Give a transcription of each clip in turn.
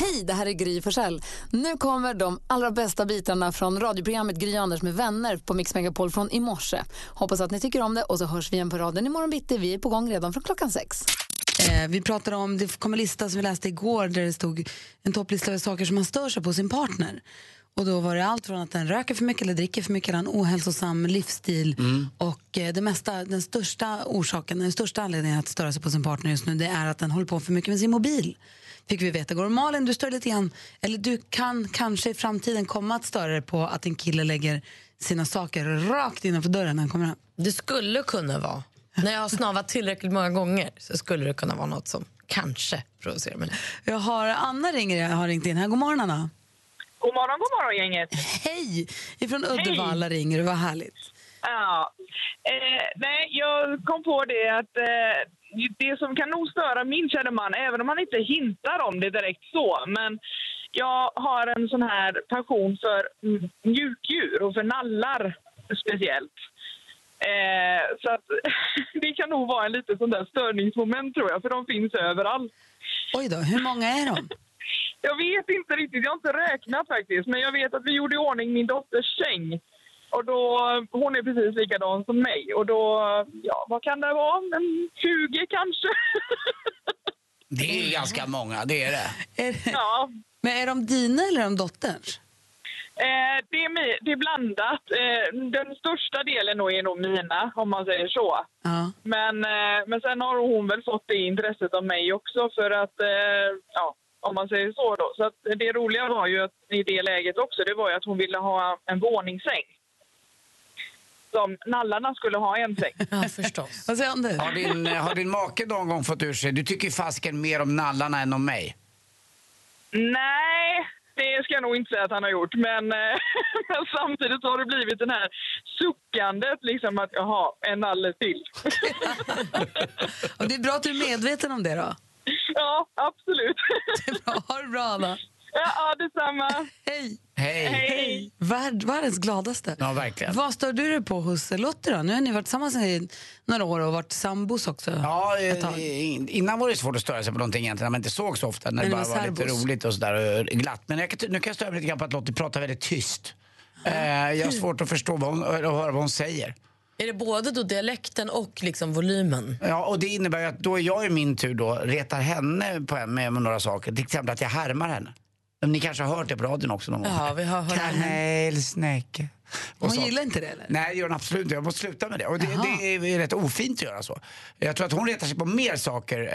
Hej, det här är Gry Forssell. Nu kommer de allra bästa bitarna från radioprogrammet Gry Anders med vänner på Mix Megapol från i morse. Hoppas att ni tycker om det och så hörs vi igen på raden imorgon bitti. Vi är på gång redan från klockan sex. Eh, vi pratade om, det kom en lista som vi läste igår där det stod en topplista över saker som man stör sig på hos sin partner. Och då var det allt från att den röker för mycket eller dricker för mycket, eller har en ohälsosam livsstil. Och eh, det mesta, den största orsaken, den största anledningen att störa sig på sin partner just nu, det är att den håller på för mycket med sin mobil. Fick vi veta igår. Och Malin, du stör lite grann, eller du kan kanske i framtiden komma att störa dig på att en kille lägger sina saker rakt innanför dörren när han kommer hem. Det skulle kunna vara. När jag har snavat tillräckligt många gånger så skulle det kunna vara något som kanske provocerar mig. Jag har Anna ringer, jag har ringt in här. God morgon Anna. God morgon, god morgon gänget. Hej! Ifrån Uddevalla ringer du, vad härligt. Ja. Eh, nej, jag kom på det att eh, det som kan nog störa min kära man, även om han inte hintar om det direkt så, men jag har en sån här passion för m- mjukdjur och för nallar speciellt. Eh, så att, det kan nog vara en liten sån där störningsmoment tror jag, för de finns överallt. Oj då, hur många är de? Jag vet inte riktigt, jag har inte räknat faktiskt. Men jag vet att vi gjorde i ordning min dotters säng. Och då, hon är precis likadan som mig. Och då, ja, vad kan det vara? En 20 kanske? Det är ganska många, det är det. Är det, ja. Men är de dina eller är de dotterns? Eh, det, är, mi- det är blandat. Eh, den största delen nog är nog mina, om man säger så. Ja. Men, eh, men sen har hon väl fått det intresset av mig också för att, eh, ja, om man säger så då. Så att det roliga var ju att i det läget också, det var ju att hon ville ha en våningssäng. Som nallarna skulle ha en säng. Ja, förstås. Vad säger du? Har din, eh, har din make någon gång fått ur sig, du tycker fasken mer om nallarna än om mig? Nej, det ska jag nog inte säga att han har gjort. Men, eh, men samtidigt så har det blivit den här suckandet liksom att jaha, en nalle till. Och det är bra att du är medveten om det då. ja, absolut. Det är bra. Ha det bra Anna. ja, ja, detsamma. Hej! Hej! Hej. Värld, världens gladaste. Ja, verkligen. Vad stör du dig på hos Lottie då? Nu har ni varit tillsammans i några år och varit sambos också. Ja, ett eh, tag. in- innan var det svårt att störa sig på någonting egentligen när man inte såg så ofta, när det Men bara det var var lite serbos. roligt och sådär och glatt. Men jag kan, ty- nu kan jag störa mig lite grann på att Lottie pratar väldigt tyst. Ah. Eh, jag Mm. har svårt att förstå vad hon, och höra vad hon säger. Är det både då dialekten och liksom volymen? Ja, och det innebär ju att då är jag i min tur då retar henne på, med, med några saker. Till exempel att jag härmar henne. Men Ni kanske har hört det på radion också någon gång? Ja, vi har hört Kanelsnäcke. Hon gillar inte det eller? Nej, det gör hon absolut inte. Jag måste sluta med det. Och det, Jaha. det är, rätt ofint att göra så. Jag tror att hon retar sig på mer saker. eh,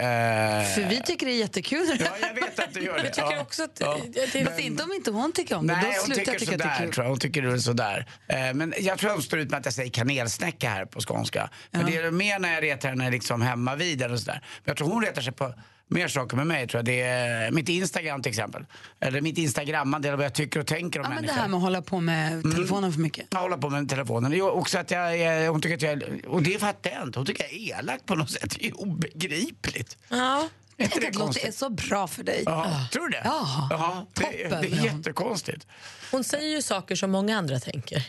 För vi tycker det är jättekul. Ja, jag vet att du gör det. Jag tycker ja. också att... Ja. Det, det, Fast Alltså, inte om inte hon tycker om det. Nej, då hon slutar tycker jag tycka att det sådär är kul. tror jag. Hon tycker det är sådär. Eh, men jag tror hon står ut med att jag säger kanelsnäcka här på skånska. För det är mer när jag retar henne liksom hemma vid eller sådär. Men jag tror hon retar sig på mer saker med mig tror jag. Det är mitt Instagram till exempel. Eller mitt Instagrammande eller vad jag tycker och tänker om Ja, men det människor. Mm. här med att hålla på med telefonen för mycket. Jag håller på med telefonen. Jo, också att jag, är- hon tycker att jag är- Och det fattar jag inte. Hon tycker jag är elak på något sätt. Det är obegripligt. ja. Är inte Tänk det att Lottie är konstigt? så bra för dig. Ja, tror du det? Ja, det, toppen. det är jättekonstigt. Hon säger ju saker som många andra tänker.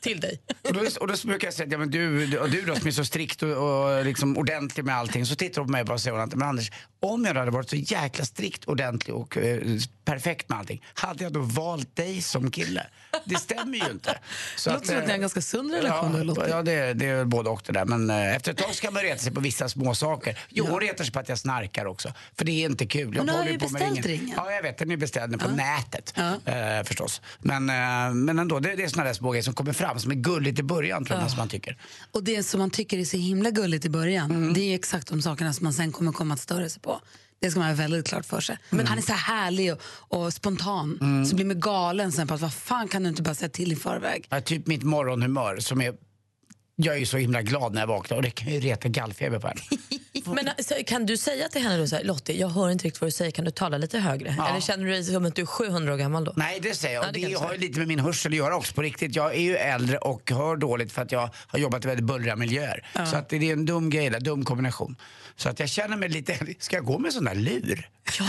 Till dig. Och då, och då brukar jag säga att ja, men du, du, och du då som är så strikt och, och liksom ordentlig med allting. Så tittar hon på mig och bara säger hon att men Anders, om jag då hade varit så jäkla strikt, ordentlig och eh, perfekt med allting. Hade jag då valt dig som kille? Det stämmer ju inte. Så eh, Låter som att ni har en ganska sund relation då, Ja, Lottie. ja det, det är väl både och det där. Men eh, efter ett tag ska man reta sig på vissa små saker. Jo, hon retar sig på att jag snarkar också. För det är inte kul. Jag nu har håller vi på med beställt ringen. Ja, jag vet. Den är beställd nu på nätet eh, förstås. Men, eh, men ändå, det, det är såna där små grejer som kommer fram som är gulligt i början tror jag som man tycker. Och det som man tycker är så himla gulligt i början, Mm. det är ju exakt de sakerna som man sen kommer komma att störa sig på. Det ska man ha väldigt klart för sig. Mm. Men han är så härlig och, och spontan, så blir man galen sen på att vad fan kan du inte bara säga till i förväg? Ja, typ mitt morgonhumör som är... Jag är ju så himla glad när jag vaknar och det kan ju reta gallfeber på en. Men alltså, kan du säga till henne då så här, Lottie, jag hör inte riktigt vad du säger, kan du tala lite högre? Eller känner du dig som att du är 700 år gammal då? Nej, det säger jag. Ja, Och det det kan du har ju säga. lite med min hörsel att göra också på riktigt. Jag är ju äldre och hör dåligt för att jag har jobbat i väldigt bullriga miljöer. Så att det är en dum grej där, dum kombination. Så att jag känner mig lite... Ska jag gå med sån där lur? Ja,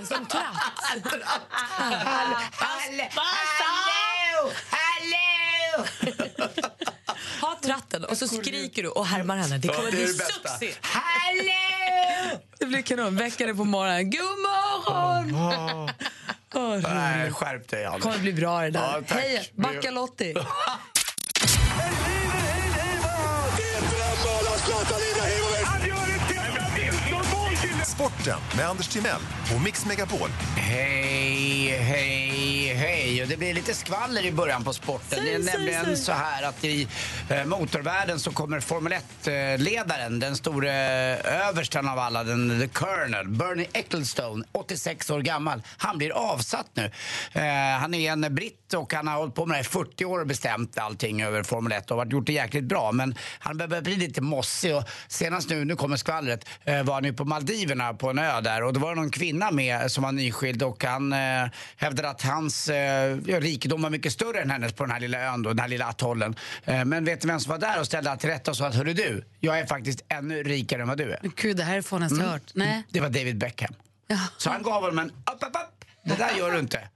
en sån tratt. Hallå! Hallå! Hallå! Ha tratten och så skriker du och härmar henne. Det kommer Ja, det bli är det bästa. succé. Hallå! Det blir kanon. Väcka dig på morgonen. God morgon! Åh, det Nej, skärp dig Anders. kommer bli bra det där. Ja, tack. Hej, backa Lottie. Sporten med Anders Timell och Mix Megapol. Hej, hej, hej. Och det blir lite skvaller i början på sporten. det är nämligen så här att i eh, motorvärlden så kommer Formel 1-ledaren, den store eh, översten av alla, den the Colonel, Bernie Ecclestone, 86 år gammal. Han blir avsatt nu. Eh, han är en britt och han har hållit på med det här i 40 år och bestämt allting över Formel 1 och har gjort det jäkligt bra. Men han börjar bli lite mossig och senast nu, nu kommer skvallret, eh, var han ju på Maldiverna på en ö där och då var det någon kvinna med som var nyskild och han eh, hävdade att hans eh, ja, rikedom var mycket större än hennes på den här lilla ön då, den här lilla atollen. Eh, men vet ni vem som var där och ställde allt till rätta och sa att hörru du, jag är faktiskt ännu rikare än vad du är. Gud, det här är fånigaste Mm. jag hört. Nej. Det var David Beckham. Så han gav honom en upp, upp, upp. Det där gör du inte. Eh,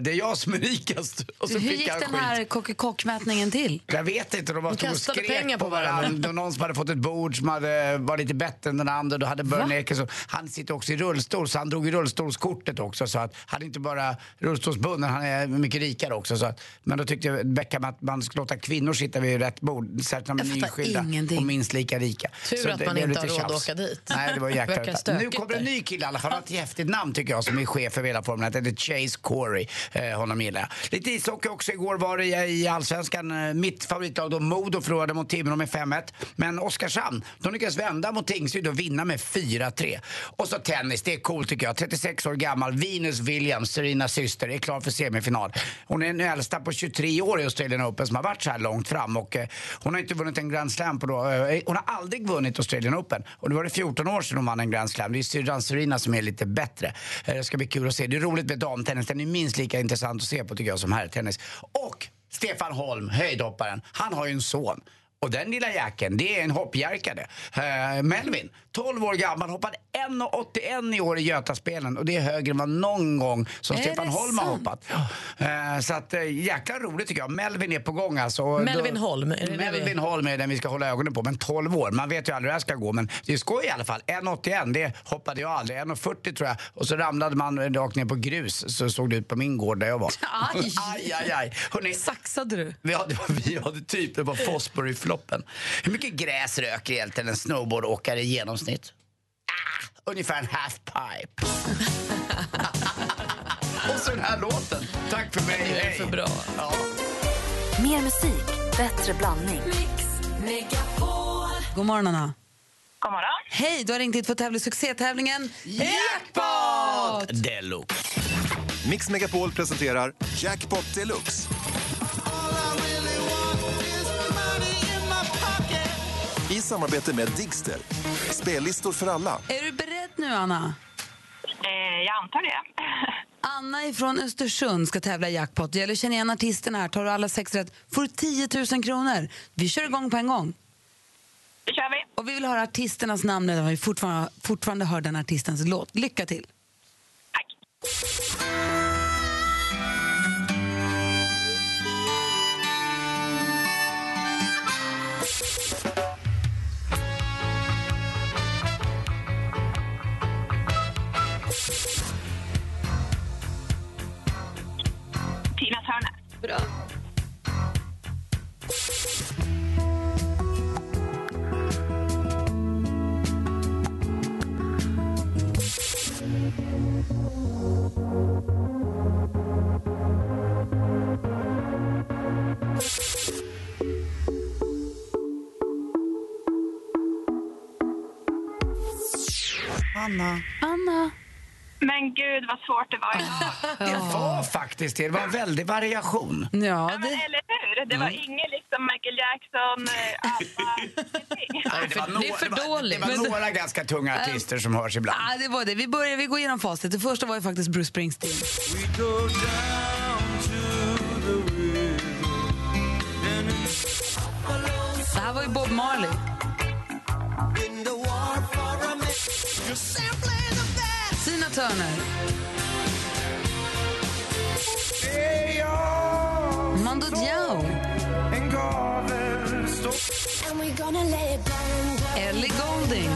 Det är jag som är rikast. Och så Hur fick gick han den skit. här kock-kock-mätningen till? Jag vet inte, de bara stod och kastade skrek pengar på på varandra. Det var någon som hade fått ett bord som hade var lite bättre än den andra. Då hade Bernie Ecclestone, han sitter också i rullstol så han drog ju rullstolskortet också. Så att han är inte bara rullstolsbunden, han är mycket rikare också. Så att, men då tyckte Beckham att man skulle låta kvinnor sitta vid rätt bord. Särskilt när de Jag är fattar nyskilda ingenting. och minst lika rika. Tur Så att man blev inte har lite råd att tjafs. åka dit. Nej, det var jäkla Verkar utan. Nu stökigt kommer en där. ny kille i alla fall. Han har ett häftigt namn tycker jag som är chef över hela Formel 1. Det är Chase Corey. Eh, honom gillar jag. Lite ishockey också. Igår var det i- i Allsvenskan. eh, Mitt favoritlag då, Modo, förlorade mot Timrå med 5-1. Men Oskarshamn, de lyckades vända mot Tingsryd och vinna med 4-3. Och så tennis, det är coolt tycker jag. 36 år gammal, Venus Williams, Serinas syster, är klar för semifinal. Hon är den äldsta på 23 år i Australian Open som har varit så här långt fram. Och, eh, hon har inte vunnit en Grand Slam på då. eh, Hon har aldrig vunnit Australian Open. Och det var det 14 år sedan hon vann en Grand Slam. Det är syrran Serena som är lite bättre. Eh, Det ska bli kul att se. Det är roligt med damtennis. Den är minst lika intressant att se på tycker jag som herrtennis. Och Stefan Holm, höjdhopparen, han har ju en son. Och den lilla jäkeln, det är en hoppjärkare. Eh, Melvin, 12 år gammal, hoppade 1,81 i år i Götaspelen. Och det är högre än vad någon gång som Är Stefan det Holm har sant? hoppat. Eh, så att, eh, jäkla roligt tycker jag. Melvin är på gång alltså. Och Melvin Holm, är det det vi- Melvin Holm är den vi ska hålla ögonen på. Men 12 år, man vet ju aldrig hur det här ska gå. Men det är skoj i alla fall. 1,81, det hoppade jag aldrig. 1,40 tror jag. Och så ramlade man rakt ner på grus. Så såg det ut på min gård där jag var. Aj. aj, aj, aj. Hörrni, Saxade du? vi hade, vi hade typ, det var Fosbury-floppen. Hur mycket gräs röker egentligen en snowboardåkare i genomsnitt? Ah, ungefär en halfpipe. Och så den här låten. Tack för mig, Det är hej. för bra. Ja. Mer musik, bättre blandning. God morgon, Anna. God morgon. Hej, du har ringt hit för att tävla i succétävlingen Jackpot! Deluxe. Mix Megapol presenterar Jackpot deluxe. i samarbete med Digster. Spellistor för alla. Är du beredd nu, Anna? Eh, jag antar det. Anna ifrån Östersund ska tävla i jackpot. Det gäller att känna igen artisterna här. Tar du alla sex rätt får du 10 000 kronor. Vi kör igång på en gång. Det kör vi. Och vi vill höra artisternas namn när vi fortfarande, fortfarande hör den artistens låt. Lycka till! Tack. Tina Turner. Anna! Men gud vad svårt det var idag. Det var faktiskt det. Det var en väldig variation. Ja, Men det, eller hur? hur? Det var ingen liksom Michael Jackson, eh, ah, ABBA, ingenting. Nej, det, var det är för det var, dåligt. Det Men- Äh. var några ganska tunga artister som hörs ibland. Ja, det var det. Vi börjar, vi går igenom facit. Det första var ju faktiskt Bruce Springsteen. Det här var ju Bob Marley. Tina Turner. Mando Diao. Ellie Golding.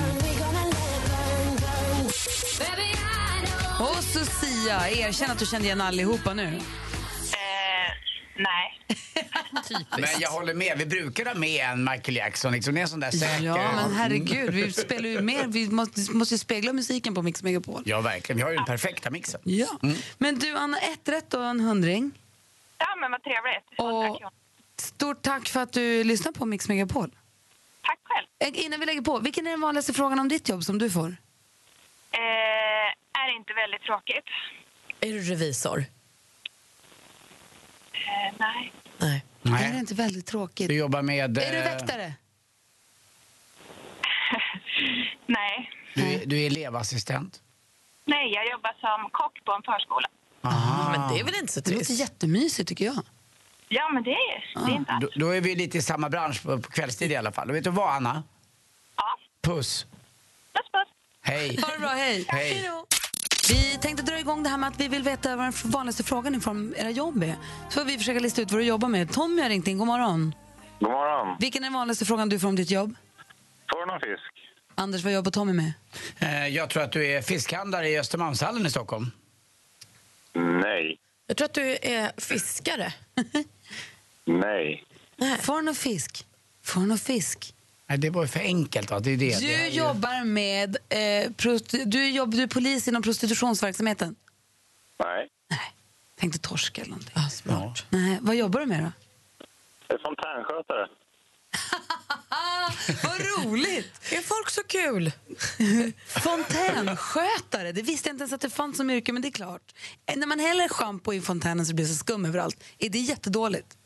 Och Lucia, erkänn att du kände igen allihopa nu. Eh, nej. Men jag håller med, vi brukar ha med en Michael Jackson. Liksom. Det är en sån där säker... Ja, men herregud, vi spelar ju mer. Vi måste, måste ju spegla musiken på Mix Megapol. Ja, verkligen. Vi har ju den perfekta mixen. Mm. Ja. Men du, Anna, ett rätt och en hundring. Ja, men vad trevligt. Och stort tack för att du lyssnar på Mix Megapol. Tack själv. Eh, Innan vi lägger på, vilken är den vanligaste frågan om ditt jobb som du får? Eh, är det inte väldigt tråkigt? Är du revisor? Eh, nej. Nej. Är det inte väldigt tråkigt? Du jobbar med... Är du eh, väktare? Nej. eh, Du, är- du är elevassistent. Nej, jag jobbar som kock på en förskola. Aha. Men det är väl inte så Det låter trist? jättemysigt tycker jag. Ja, men det är, det är inte alls. Då, då är vi lite i samma bransch på, på kvällstid i alla fall. Och vet du vad, Anna? Ja. Puss, Puss. puss. Hej. Ha det bra, hej. Hej. Vi tänkte dra igång det här med att vi vill veta vad den vanligaste frågan ifrån era jobb är. Så får vi försöka lista ut vad du jobbar med. Tommy har ringt in, god morgon. God morgon. Vilken är den vanligaste frågan du får om ditt jobb? Får du någon fisk? Anders, vad jobbar Tommy med? Eh, Jag tror att du är fiskhandlare i Östermalmshallen i Stockholm. Nej. Jag tror att du är fiskare. Nej. Får han någon fisk? Får han någon fisk? Nej, det var ju för enkelt. Va? Det är det. det Du här är ju- jobbar med... Eh, prosti- du, jobb, du är polis inom prostitutionsverksamheten? Nej. Tänkte torsk eller någonting. Ah, smart. Nej, vad jobbar du med då? Det är fontänskötare. Vad roligt! Är folk så kul? Fontänskötare, det visste jag inte ens att det fanns som yrke, men det är klart. Eh, När man häller schampo i fontänen så blir det så skum överallt. Är det jättedåligt?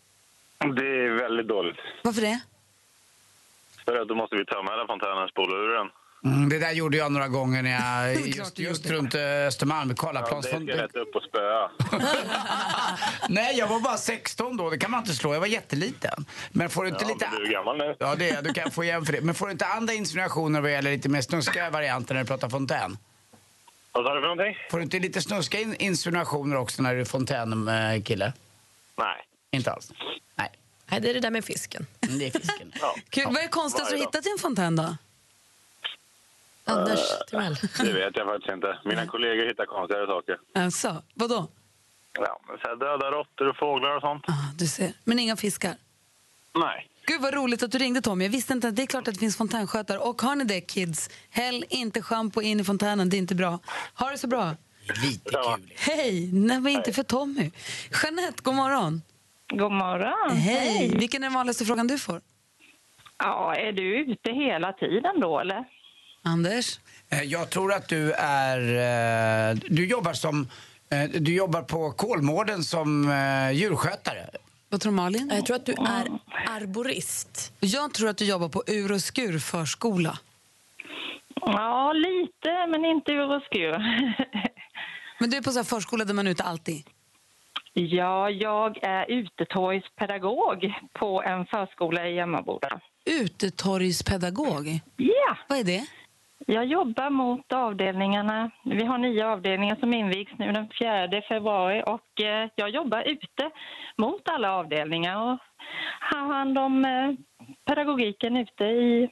Det är väldigt dåligt. Varför det? För att då måste vi tömma hela fontänen och spola ur den. Mm, det där gjorde jag några gånger när jag, klart just, du just runt eh, Östermalm, Ja, Karlaplans... det ska jag äta upp och spöa. Nej, jag var bara 16 då. Det kan man inte slå. Jag var jätteliten. Men får du inte Ja, lite... men du är gammal nu. Ja, det är Du kan få igen för det. Men får du inte andra insinuationer vad gäller lite mer snuskiga varianter när du pratar fontän? Vad sa du för någonting? Får du inte lite snuskiga in- insinuationer också när du är fontänkille? Nej. Inte alls? Nej, Nej, det är det där med fisken. men det är fisken. Ja. Kul. Vad är det konstigaste du varje dag. hittat i en fontän då? Anders Timell. Det vet jag faktiskt inte. Mina kollegor hittar konstigare saker. Alltså, vadå? Ja, men så här döda råttor och fåglar och sånt. Ah, du ser. Men inga fiskar? Nej. Gud vad roligt att du ringde Tommy. Jag visste inte att det är klart att det finns fontänskötare. Och har ni det kids, häll inte schampo in i fontänen, det är inte bra. Ha det så bra. Lite kul. Hej! Nej, men inte för Tommy. Jeanette, god morgon. God morgon. Hej! Vilken är den vanligaste frågan du får? Ja, är du ute hela tiden då, eller? Anders? Eh, Jag tror att du är... eh, Du jobbar som... eh, Du jobbar på Kolmården som eh, djurskötare. Vad tror Malin? Jag tror att du Mm. är arborist. Jag tror att du jobbar på ur och skurförskola. Ja, lite, men inte ur och skur. Men du är på så här förskola där man är ute alltid. ja, jag är utetorgspedagog på en förskola i Emmaboda. Utetorgspedagog? Ja! Vad är det? Jag jobbar mot avdelningarna. Vi har nya avdelningar som invigs nu den 4 februari och eh, jag jobbar ute mot alla avdelningar och har hand om eh, pedagogiken ute i,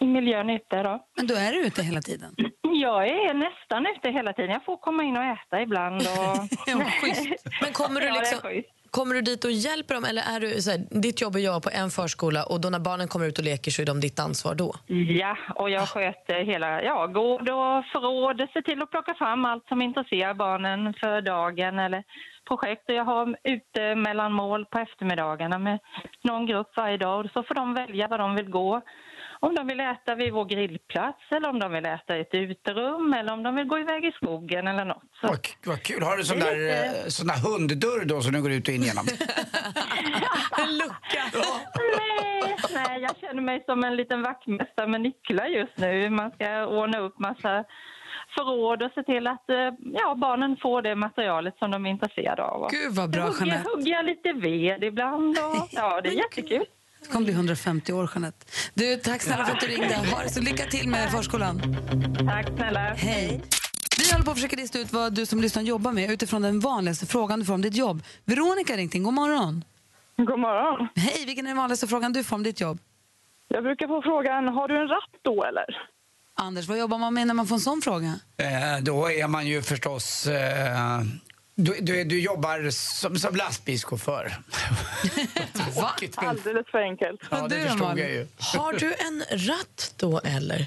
i miljön ute. Då. Men då är du ute hela tiden. Jag är nästan ute hela tiden. Jag får komma in och äta ibland. Och... Ja, vad schysst. Men kommer du, Ja, det är liksom, schysst. kommer du dit och hjälper dem? Eller är du, så här, ditt jobb är jag på en förskola och då när barnen kommer ut och leker så är de ditt ansvar då? Ja, och jag sköter hela ja, gård och förråd. Ser till att plocka fram allt som intresserar barnen för dagen eller projekt. Och jag har ute mellanmål på eftermiddagarna med någon grupp varje dag. Och Så får de välja var de vill gå. om de vill äta vid vår grillplats eller om de vill äta i ett uterum eller om de vill gå iväg i skogen eller något. Så Vad, vad kul! Har du sån där, eh, sån där hunddörr då som du går ut och in genom? En lucka! Nej, nej, jag känner mig som en liten vaktmästare med nycklar just nu. Man ska ordna upp massa förråd och se till att eh, ja, barnen får det materialet som de är intresserade av. Gud, vad bra, Jag hugger, Jeanette. hugger lite ved ibland. Och, ja, det är jättekul. Du kommer bli 150 år, Jeanette. Du, tack snälla för att du ringde. Ha det så lycka till med förskolan. Tack snälla. Hej. Vi håller på att försöka lista ut vad du som lyssnar jobbar med utifrån den vanligaste frågan du får om ditt jobb. Veronica har ringt in. God morgon. God morgon. Hej, vilken är den vanligaste frågan du får om ditt jobb? Jag brukar få frågan, har du en ratt då eller? Anders, vad jobbar man med när man får en sån fråga? Eh, då är man ju förstås... Eh, du, du, du jobbar som, som lastbilschaufför. Va? Alldeles för enkelt. Ja, det förstod jag ju. Har du en ratt då eller?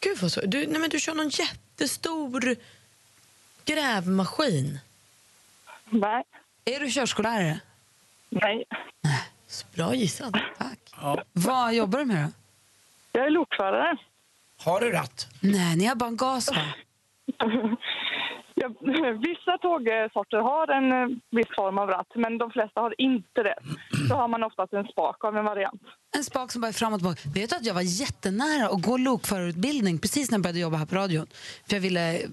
Gud vad så. Du, nej men du kör någon jättestor grävmaskin. Nej. Är du körskollärare? Nej. Bra gissat. Ja. Vad jobbar du med då? Jag är lokförare. Har du ratt? Nej, ni har bara en gas va? Jag, vissa tågsorter har en eh, viss form av ratt, men de flesta har inte det. Då har man oftast en spak av en variant. En spak som bara är fram och tillbaka. Vet du att jag var jättenära att gå lokförarutbildning precis när jag började jobba här på radion? För jag ville eh,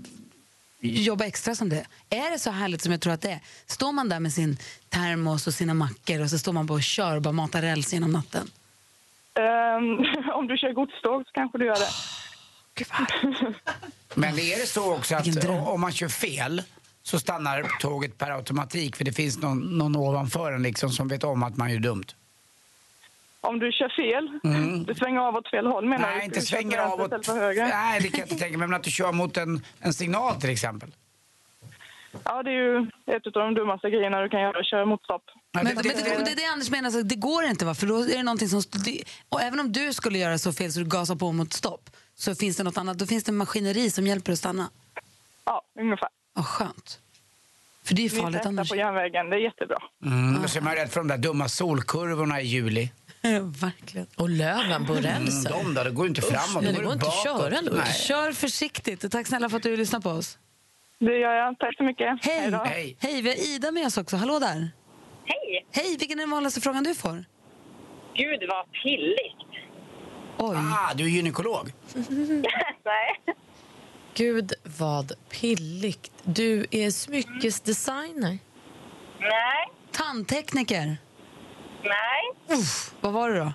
jobba extra som det. Är det så härligt som jag tror att det är? Står man där med sin termos och sina mackor och så står man bara och kör och bara matar räls genom natten? Ehm, om du kör godståg så kanske du gör det. Men är det så också att o- om man kör fel så stannar tåget per automatik för det finns någon, någon ovanför en liksom som vet om att man gör dumt? Om du kör fel, Mm. du svänger av åt fel håll menar Nej, du? inte Du kör på svänger vänster av åt... istället för höger. Nej, det kan jag inte tänka mig. Men att du kör mot en, en signal till exempel. Ja, det är ju ett av de dummaste grejerna du kan göra, köra motstopp. Men, men, det, det, är det Anders menar, så det går inte va? För då är det någonting som... det- Och även om du skulle göra så fel så du gasar på mot stopp så finns det något annat. Då finns det maskineri som hjälper dig att stanna. Ja, ungefär. Vad skönt. För det är ju Ni farligt testar annars. på järnvägen, det är jättebra. Mm, då ser man ju rädd för de där dumma solkurvorna i juli. Verkligen. Och löven på rälsen. Mm, de där, det går ju inte Usch, framåt. nej, då det går inte att bakåt. köra, Louise. Nej. Kör försiktigt och tack snälla för att du lyssnar på oss. Det gör jag. Tack så mycket. Hej! då. Hej, vi har Ida med oss också. Hallå där! Hej! Hej, vilken är den vanligaste frågan du får? Gud vad pilligt. Oj. Ah, du är gynekolog. Nej. Gud vad pilligt. Du är smyckesdesigner. Nej. Tandtekniker. Nej. Uff, vad var det då?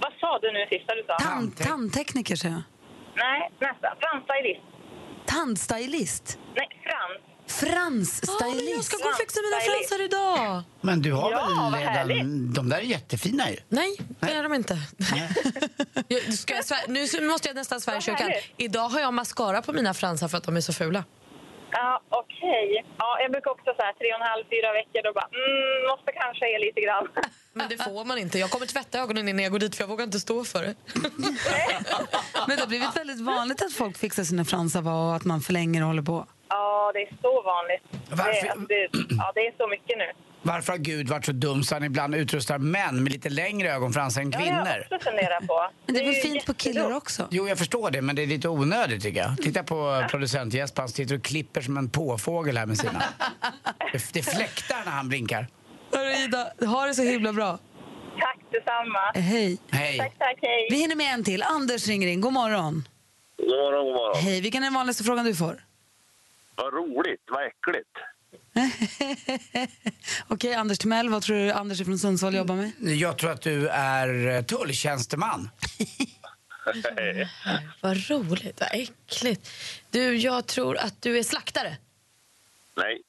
Vad sa du nu sista du sa? Tand, tandtekniker säger jag. Nej, nästa. Fransstylist. Tandstylist. Nej, frans. Fransstylist. Jag ska gå och fixa mina Fransstylist. fransar idag. Men du har Ja, vad väl redan... härligt. De där är jättefina ju. Nej, det är de inte. Jag, ska jag, svär- nu så- måste jag nästan svära i kyrkan. härligt. Idag har jag mascara på mina fransar för att de är så fula. Ja, okej. Ja, jag brukar också så här tre och en halv, fyra veckor då bara, mm, måste kanske ge lite grann. Men det får man inte. Jag kommer tvätta ögonen innan jag går dit för jag vågar inte stå för det. Men det har blivit väldigt vanligt att folk fixar sina fransar va, och att man förlänger och håller på. Ja, det är så vanligt. Det, är- alltså, det, ja, det är så mycket nu. Varför har Gud varit så dum så han ibland utrustar män med lite längre ögonfransar än Ja, det har jag kvinnor? också funderat på. Men det är väl ju fint på killar jättedumt. också? Jo, jag förstår det, men det är lite onödigt tycker jag. Titta på producent Jesper, han sitter och klipper som en påfågel här med sina. Det- Det fläktar när han blinkar. Hörru Ida, ha det så himla bra. Tack detsamma. Hej. Hej. Tack, tack, hej. Vi hinner med en till. Anders ringer in. God morgon. God morgon, god morgon. Hej, vilken är den vanligaste frågan du får? Vad roligt, vad äckligt. Okej, Anders Timell, vad tror du Anders är från Sundsvall jobbar med? Jag tror att du är eh, tulltjänsteman. Vad roligt, vad äckligt. Du, jag tror att du är slaktare. Nej.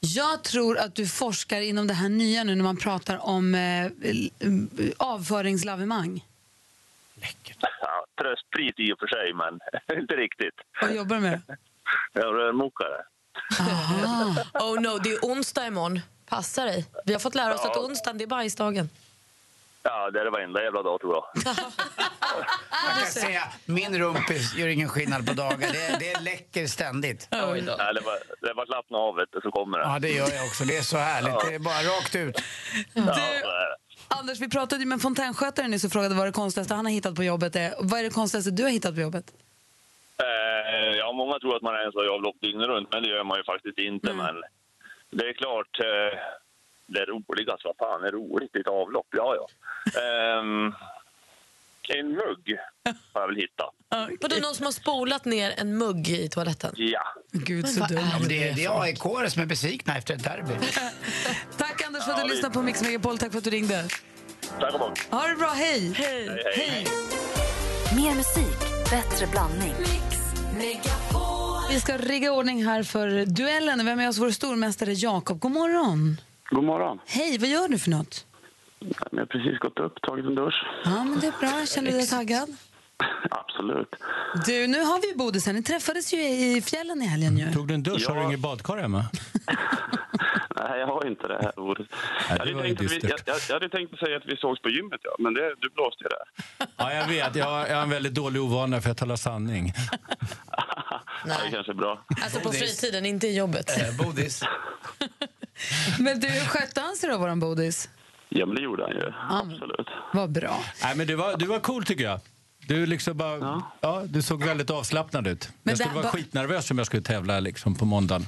Jag tror att du forskar inom det här nya nu när man pratar om eh, l- m- avföringslavemang. Ja, tröstpris i och för sig, men inte riktigt. Vad jobbar du med? Jag är rörmokare. Oh no, det är onsdag imorgon. Passa dig. Vi har fått lära oss Ja. att onsdagen det är bajsdagen. Ja, det är det varenda jävla dag tror jag. Ah. Man kan säga, min rumpis gör ingen skillnad på dagar. Det, det läcker ständigt. Nej, det var, det var slappna av, vet du, så kommer det. Ja, det gör jag också. Det är så härligt. Det är bara rakt ut. Ja, så är det. Anders, vi pratade ju med en fontänskötare nyss och frågade vad det konstigaste han har hittat på jobbet är. Vad är det konstigaste du har hittat på jobbet? Eh, ja, många tror att man är en sån avlopp dygnet runt, men det gör man ju faktiskt inte. Men det är klart, eh, det roligaste, vad fan är roligt i ett avlopp? Ja, ja. Ehm, en mugg har jag väl hittat. Vadå, någon som har spolat ner en mugg i toaletten? Ja. Gud, så dumt. Ja, men det, är- det är AIK som är besvikna efter ett derby. Tack Anders för att Ja, du vi- lyssnade på Mix Megapol. Tack för att du ringde. Tack och bock. Ha det bra, hej! Hej, hej. hej. Mer musik, bättre blandning. Vi ska rigga i ordning här för duellen. Vem är oss vår stormästare Jakob? God morgon. God morgon. Hej, vad gör du för något? Jag har precis gått upp, tagit en dusch. Ja, men det är bra. Känner du dig taggad? Absolut. Du, nu har vi ju Bodisen. Ni träffades ju i fjällen i helgen ju. Tog du en dusch? Har du ingen badkar hemma? Nej, jag har inte det här ordet. Jag det var hade, ju tänkt att vi, jag, jag, jag hade tänkt att säga att vi sågs på gymmet, ja. men det, du blåste ju där. Ja, jag vet. Jag har, jag har en väldigt dålig ovana för jag talar sanning. Nej. Det kanske är bra. Alltså på fritiden, inte i jobbet. Eh, Bodis. Men du, skötte han sig då, våran Bodis? Ja, men det gjorde han ju. Absolut. Vad bra. Nej, men du var, du var cool tycker jag. Du, liksom bara, ja. du såg väldigt avslappnad ut. Men jag skulle där vara var- skitnervös om jag skulle tävla liksom, på måndagen.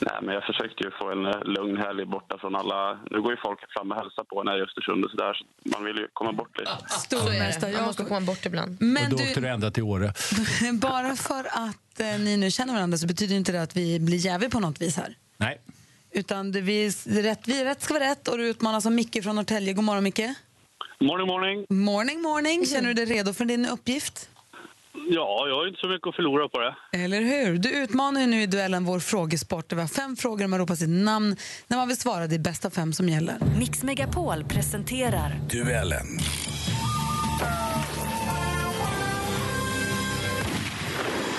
Nej, men jag försökte ju få en eh, lugn helg borta från alla... Nu går ju folk fram och hälsar på en här i Östersund och sådär, så man vill ju komma bort lite. Stormästare Man måste komma bort ibland. Men och då du- åkte du ända till Åre. Bara för att eh, ni nu känner varandra så betyder ju inte det att vi blir jäviga på något vis här. Nej. Utan det, vi, det är rätt, vi är rätt ska vara rätt och du utmanas av Micke från Norrtälje. God morgon Micke. Morning, morning! Morning, morning. Känner du dig redo för din uppgift? Ja, jag har ju inte så mycket att förlora på det. Eller hur? Du utmanar ju nu i duellen vår frågesport. Det var fem frågor och man ropar sitt namn. När man vill svara, det är bästa fem som gäller. Mix Megapol presenterar Duellen.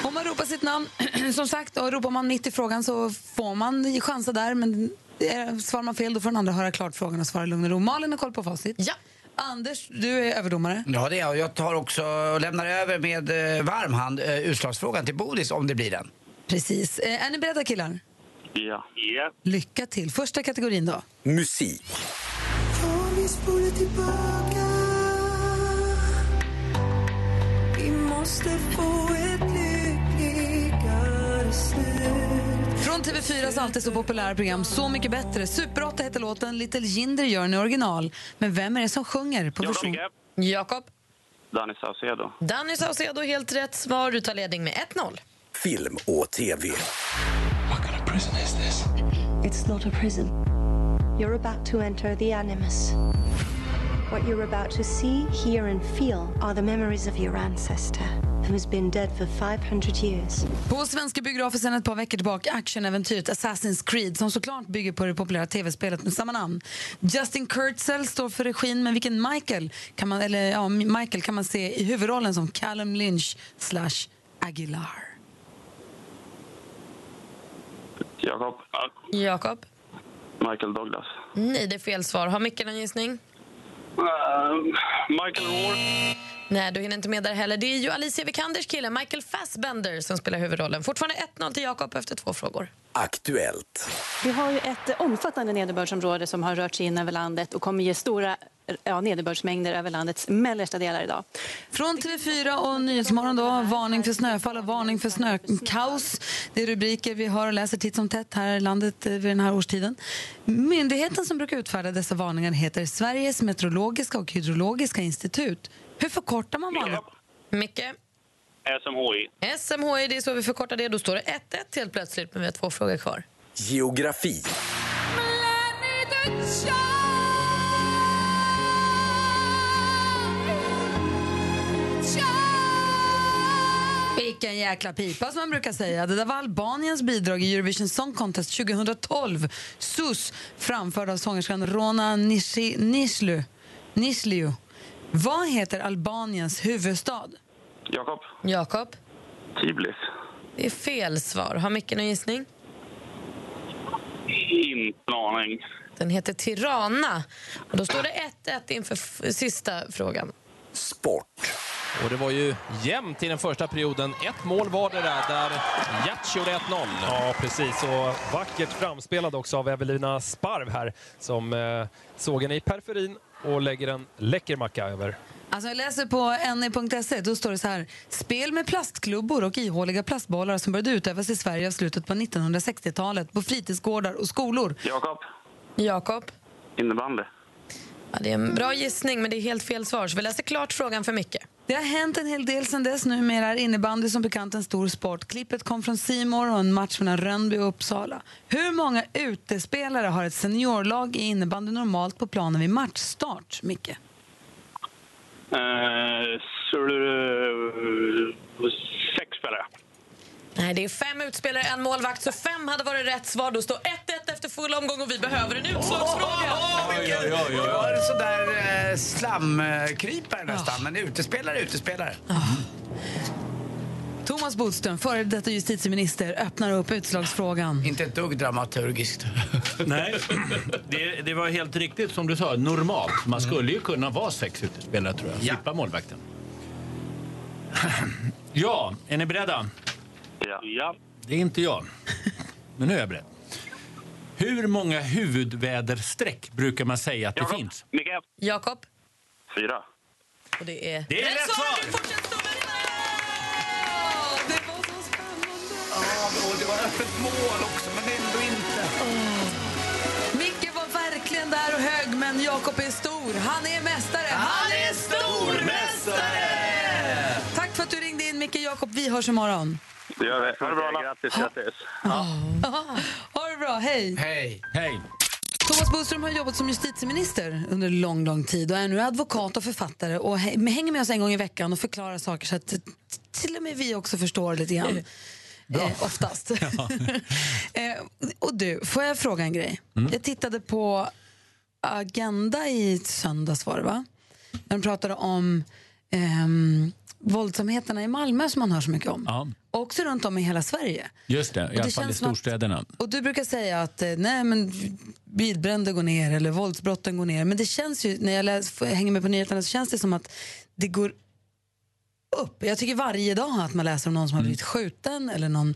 Om man ropar sitt namn, som sagt, och ropar man mitt i frågan så får man chansa där. Men eh, svarar man fel då får den andra höra klart frågan och svara i lugn och ro. Malin har koll på facit. Ja. Anders, du är överdomare. Ja, det är jag. Jag tar också och lämnar över med eh, varm hand eh, utslagsfrågan till Bodis om det blir den. Precis. Eh, Är ni beredda killar? Ja. Lycka till. Första kategorin då. Musik. Om vi spolar tillbaka Vi måste få ett lyckligare slut Från TV4s alltid så populära program Så mycket bättre. Super 8 heter låten, Little Jinder gör den i original. Men vem är det som sjunger på version? Jakob. Danny Saucedo. Danny Saucedo, helt rätt svar. Du tar ledning med 1-0. Film och tv. prison is this? It's not a prison. You're about to enter the Animus. What you're about to see, hear, and feel are the memories of your ancestor, who has been dead for 500 years. På svenska biografer sedan ett par veckor tillbaka actionäventyret Assassin's Creed som såklart bygger på det populära tv-spelet med samma namn. Justin Kurtzel står för regin, men vilken Michael kan man, eller, ja, Michael kan man se i huvudrollen som Callum Lynch slash Aguilar? Jakob. Jakob. Michael Douglas. Nej, det är fel svar. Har Micke någon gissning? Ehm, Michael Moore. Nej, du hinner inte med där heller. Det är ju Alicia Vikanders kille Michael Fassbender som spelar huvudrollen. Fortfarande 1-0 till Jakob efter två frågor. Aktuellt. Vi har ju ett eh, omfattande nederbördsområde som har rört sig in över landet och kommer ge stora eh, ja, nederbördsmängder över landets mellersta delar idag. Från TV4 och Nyhetsmorgon då, varning för snöfall och varning för snökaos. Det är rubriker vi hör och läser titt som tätt här i landet eh, vid den här årstiden. Myndigheten som brukar utfärda dessa varningar heter Sveriges meteorologiska och hydrologiska institut. Hur förkortar man varningen? Micke? SMHI. SMHI, det är så vi förkortar det. Då står det 1-1 helt plötsligt, men vi har två frågor kvar. Geografi. Vilken jäkla pipa som man brukar säga. Det där var Albaniens bidrag i Eurovision Song Contest 2012. Sus, framförd av sångerskan Rona Nishi, Nishlu. Nishliu. Vad heter Albaniens huvudstad? Jakob. Jakob? Tiblis. Det är fel svar. Har Micke någon gissning? Inte en aning. Den heter Tirana. Och då står det 1-1 inför f- sista frågan. Sport. Och det var ju jämnt i den första perioden. Ett mål var det där, där Jatch gjorde 1-0. Ja, precis. Och vackert framspelad också av Evelina Sparv här som eh, såg henne i periferin och lägger en läcker macka över. Alltså jag läser på E ne.se, då står det så här. Spel med plastklubbor och ihåliga plastbollar som började utövas i Sverige av slutet på 1960-talet på fritidsgårdar och skolor. Jakob, Jakob? innebandy. Ja, det är en bra gissning, men det är helt fel svar. Så vi läser klart frågan för Micke. Det har hänt en hel del sedan dess. Numera är innebandy som bekant en stor sport. Klippet kom från Simor och en match mellan Rönnby och Uppsala. Hur många utespelare har ett seniorlag i innebandy normalt på planen vid matchstart, Micke? Eh, så, eh, sex spelare. Nej, det är fem utspelare, en målvakt, så fem hade varit rätt svar. Då står 1-1 efter full omgång och vi behöver en utslagsfråga. Oj, oj, oj. Det var en sån där eh, slamkrypare nästan, men utespelare, utespelare. Thomas Bodström, före detta justitieminister, öppnar upp utslagsfrågan. Inte ett dugg dramaturgiskt. Nej, det, det var helt riktigt som du sa. Normalt. Man skulle ju kunna vara sex utespelare, tror jag. Slippa målvakten. Ja, är ni beredda? Ja. Det är inte jag. Men nu är jag beredd. Hur många huvudväderstreck brukar man säga att det finns? Mikael. Jakob. Fyra. Och det är... Det är rätt svar! Ja, och det var öppet mål också, men ändå inte. Micke var verkligen där och hög, men Jakob är stor. Han är mästare! Han är stormästare! Tack för att du ringde in, Micke Jakob. Vi hörs imorgon. Det gör vi. Ha det bra. Grattis, grattis. Ha det bra, hej! Hej! Hej! Thomas Bodström har jobbat som justitieminister under lång, lång tid och är nu advokat och författare och hä- hänger med oss en gång i veckan och förklarar saker så att t- till och med vi också förstår lite grann. Eh, oftast. eh, och du, får jag fråga en grej? Mm. Jag tittade på Agenda i söndags var det va? När de pratade om ehm, våldsamheterna i Malmö som man hör så mycket om. Ja, Och också runt om i hela Sverige. just det. I alla det fall i känns som att- storstäderna. Och du brukar säga att eh, nej, men bilbränder går ner eller våldsbrotten går ner. Men det känns ju, när jag läs, hänger med på nyheterna så känns det som att det går upp. Jag tycker varje dag att man läser om någon som har blivit skjuten eller någon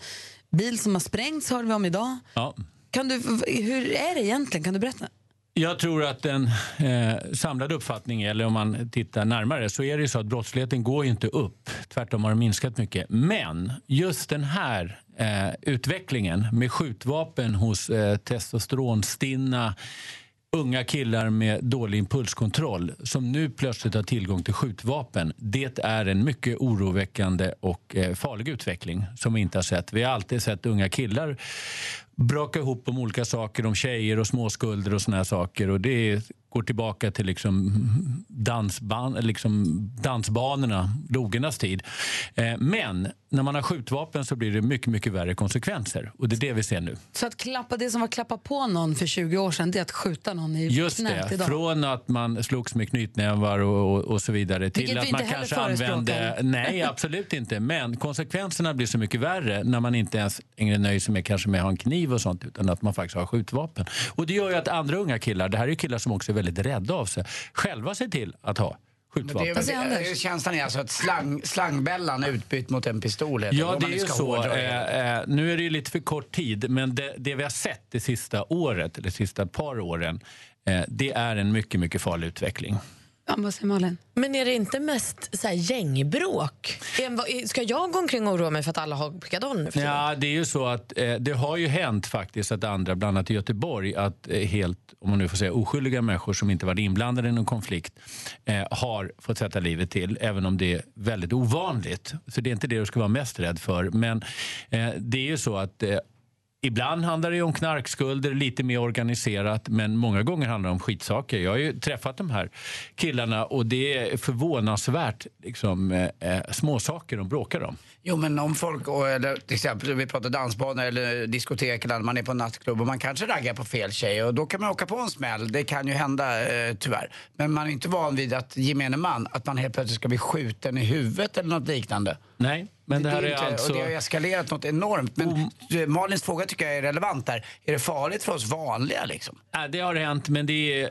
bil som har sprängts hörde vi om idag. Ja. Kan du, hur är det egentligen? Kan du berätta? Jag tror att den eh, samlade uppfattningen, eller om man tittar närmare, så är det ju så att brottsligheten går ju inte upp. Tvärtom har den minskat mycket. Men just den här eh, utvecklingen med skjutvapen hos eh, testosteronstinna unga killar med dålig impulskontroll som nu plötsligt har tillgång till skjutvapen. Det är en mycket oroväckande och eh, farlig utveckling som vi inte har sett. Vi har alltid sett unga killar braka ihop om olika saker, om tjejer och småskulder och såna här saker. Och det går tillbaka till liksom dansban, liksom dansbanorna, logernas tid. Eh, Men när man har skjutvapen så blir det mycket, mycket värre konsekvenser. Och det är det vi ser nu. Så att klappa det som var klappa på någon för 20 år sedan, det är att skjuta någon i Just knät det, idag. från att man slogs med knytnävar och, och, och så vidare till Vilket vi att man inte heller kanske använde... förespråkar. Nej, absolut inte. Men konsekvenserna blir så mycket värre när man inte ens längre nöjer sig med, kanske med att ha en kniv och sånt utan att man faktiskt har skjutvapen. Och det gör ju att andra unga killar, det här är ju killar som också är väldigt rädda av sig, själva ser till att ha Det skjutvapen. är, det är, känslan är alltså att slang, slangbällan är utbytt mot en pistol. heter Ja, om det man är nu ju ska så. hårdra det. Eh, eh, nu är det ju lite för kort tid, men det, det vi har sett det sista året, eller de sista par åren, eh, det är en mycket, mycket farlig utveckling. Ja, vad säger Malin? Men är det inte mest så här, gängbråk? Är en- vad- är- Ska jag gå omkring och oroa mig för att alla har pickadoll nu för tiden? Ja, det är ju så att eh, det har ju hänt faktiskt att andra, bland annat i Göteborg, att eh, helt, om man nu får säga oskyldiga människor som inte varit inblandade i någon konflikt eh, har fått sätta livet till, även om det är väldigt ovanligt. Så det är inte det du ska vara mest rädd för. Men eh, det är ju så att eh, Ibland handlar det ju om knarkskulder, lite mer organiserat, men många gånger handlar det om skitsaker. Jag har ju träffat de här killarna och det är förvånansvärt liksom, eh, eh, småsaker de bråkar om. Jo, men om folk, och- eller till exempel vi pratar dansbanor eller diskotek eller man är på en nattklubb och man kanske raggar på fel tjej och då kan man åka på en smäll. Det kan ju hända eh, tyvärr. Men man är inte van vid att gemene man, att man helt plötsligt ska bli skjuten i huvudet eller något liknande. Nej, men det, här är är, inte- alltså... Och det har eskalerat något enormt. Men du, Malins fråga tycker jag är relevant där. Är det farligt för oss vanliga liksom? Ja, det har hänt, men det är eh,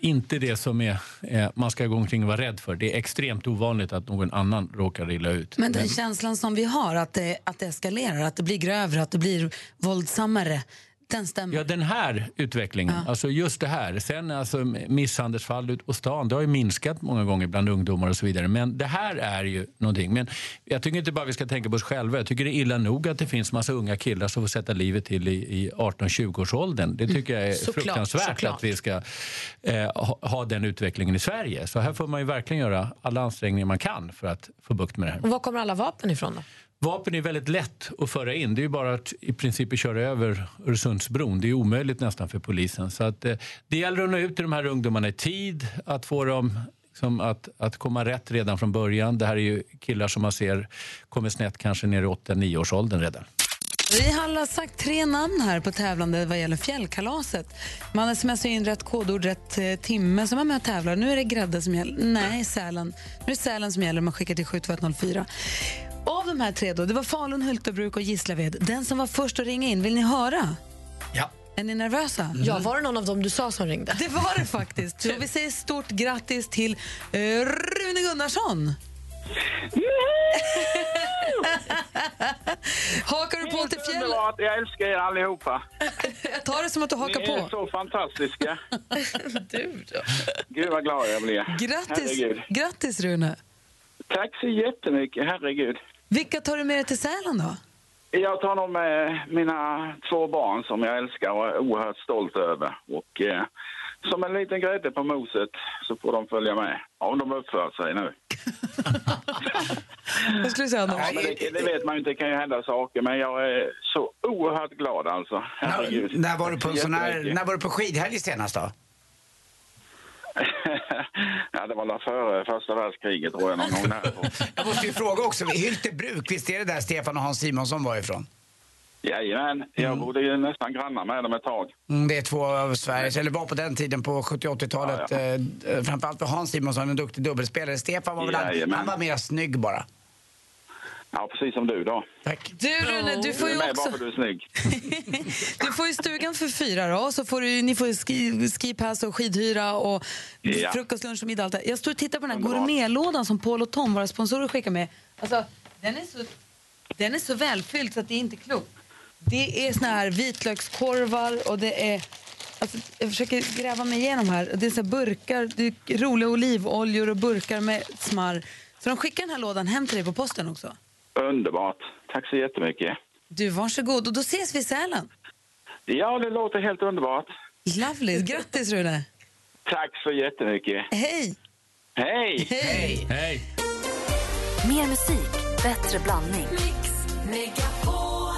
inte det som är, eh, man ska gå omkring och vara rädd för. Det är extremt ovanligt att någon annan råkar illa ut. Men den känslan som vi har, att det, att det eskalerar, att det blir grövre, att det blir våldsammare, den stämmer. Ja, den här utvecklingen, alltså just det här. Sen alltså misshandelsfall ut på stan, det har ju minskat många gånger bland ungdomar och så vidare. Men det här är ju någonting. Men jag tycker inte bara vi ska tänka på oss själva. Jag tycker det är illa nog att det finns massa unga killar som får sätta livet till i, i 18-20-årsåldern. Det tycker jag är Såklart, fruktansvärt såklart. att vi ska eh, ha, ha den utvecklingen i Sverige. Så här får man ju verkligen göra alla ansträngningar man kan för att få bukt med det här. Och var kommer alla vapen ifrån då? Vapen är väldigt lätt att föra in. Det är ju bara att i princip köra över Öresundsbron. Det är omöjligt nästan för polisen. Så att, eh, det gäller att nå ut till de här ungdomarna i tid, att få dem liksom, att, att komma rätt redan från början. Det här är ju killar som man ser kommer snett kanske ner i 8-9 års åldern redan. Vi har alla sagt tre namn här på tävlande vad gäller fjällkalaset. Man smsar in rätt kodord, rätt eh, timme som är med och tävlar. Nu är det grädde som gäller. Nej, Sälen. Nu är det Sälen som gäller. Man skickar till 72104. Av de här tre då, det var Falun, Hultebruk och Gislaved. Den som var först att ringa in, vill ni höra? Ja. Är ni nervösa? Mm. Ja, var det någon av dem du sa som ringde? Det var det faktiskt. Så vi säger stort grattis till eh, Rune Gunnarsson. Hakar du på till fjällen? Underbart, jag älskar er allihopa. Jag tar det som att du hakar Ni är på. så fantastiska. Gud vad glad jag blir. Grattis, Herregud. grattis Rune. Tack så jättemycket, herregud. Vilka tar du med dig till Sälen då? Jag tar nog med mina två barn som jag älskar och är oerhört stolt över. Och eh, som en liten grädde på moset så får de följa med. Om de uppför sig nu. Vad skulle du säga Ja, men det, det vet man ju inte, det kan ju hända saker. Men jag är så oerhört glad alltså. Herregud. När var du på, en sån här, Jättemycket. när var du på skidhelg senast då? Ja, det var väl före första världskriget tror jag någon gång därifrån. Jag måste ju fråga också, Hyltebruk, visst är det där Stefan och Hans Simonsson var ifrån? Jajamän, jag bodde ju nästan grannar med dem ett tag. Mm, det är två av Sveriges, eller var på den tiden på 70 och 80-talet. Ja, eh, eh, Framförallt var Hans Simonsson en duktig dubbelspelare. Stefan var väl han, Jajamän. han var mer snygg bara. Ja, precis som du då. Tack. Du Rune, du får är ju med också... bara för du är snygg. Du får ju stugan för fyra då, och så får du, ni får ju ski, skipass och skidhyra och Ja. frukost, lunch och middag. Allt det. Jag står och tittar på den här gourmetlådan som Paul och Tom, våra sponsorer, skickar med. Alltså, den är så, den är så välfylld så att det är inte klokt. Det är såna här vitlökskorvar och det är... Alltså, jag försöker gräva mig igenom här. Det är så här burkar, det är roliga olivoljor och burkar med smarr. Så de skickar den här lådan hem till dig på posten också. Underbart. Tack så jättemycket. Du, varsågod. Och då ses vi i Sälen. Ja, det låter helt underbart. Lovely. Grattis, Rune. Tack så jättemycket. Hej! Hej! Hej! Hej! Mer musik, bättre blandning.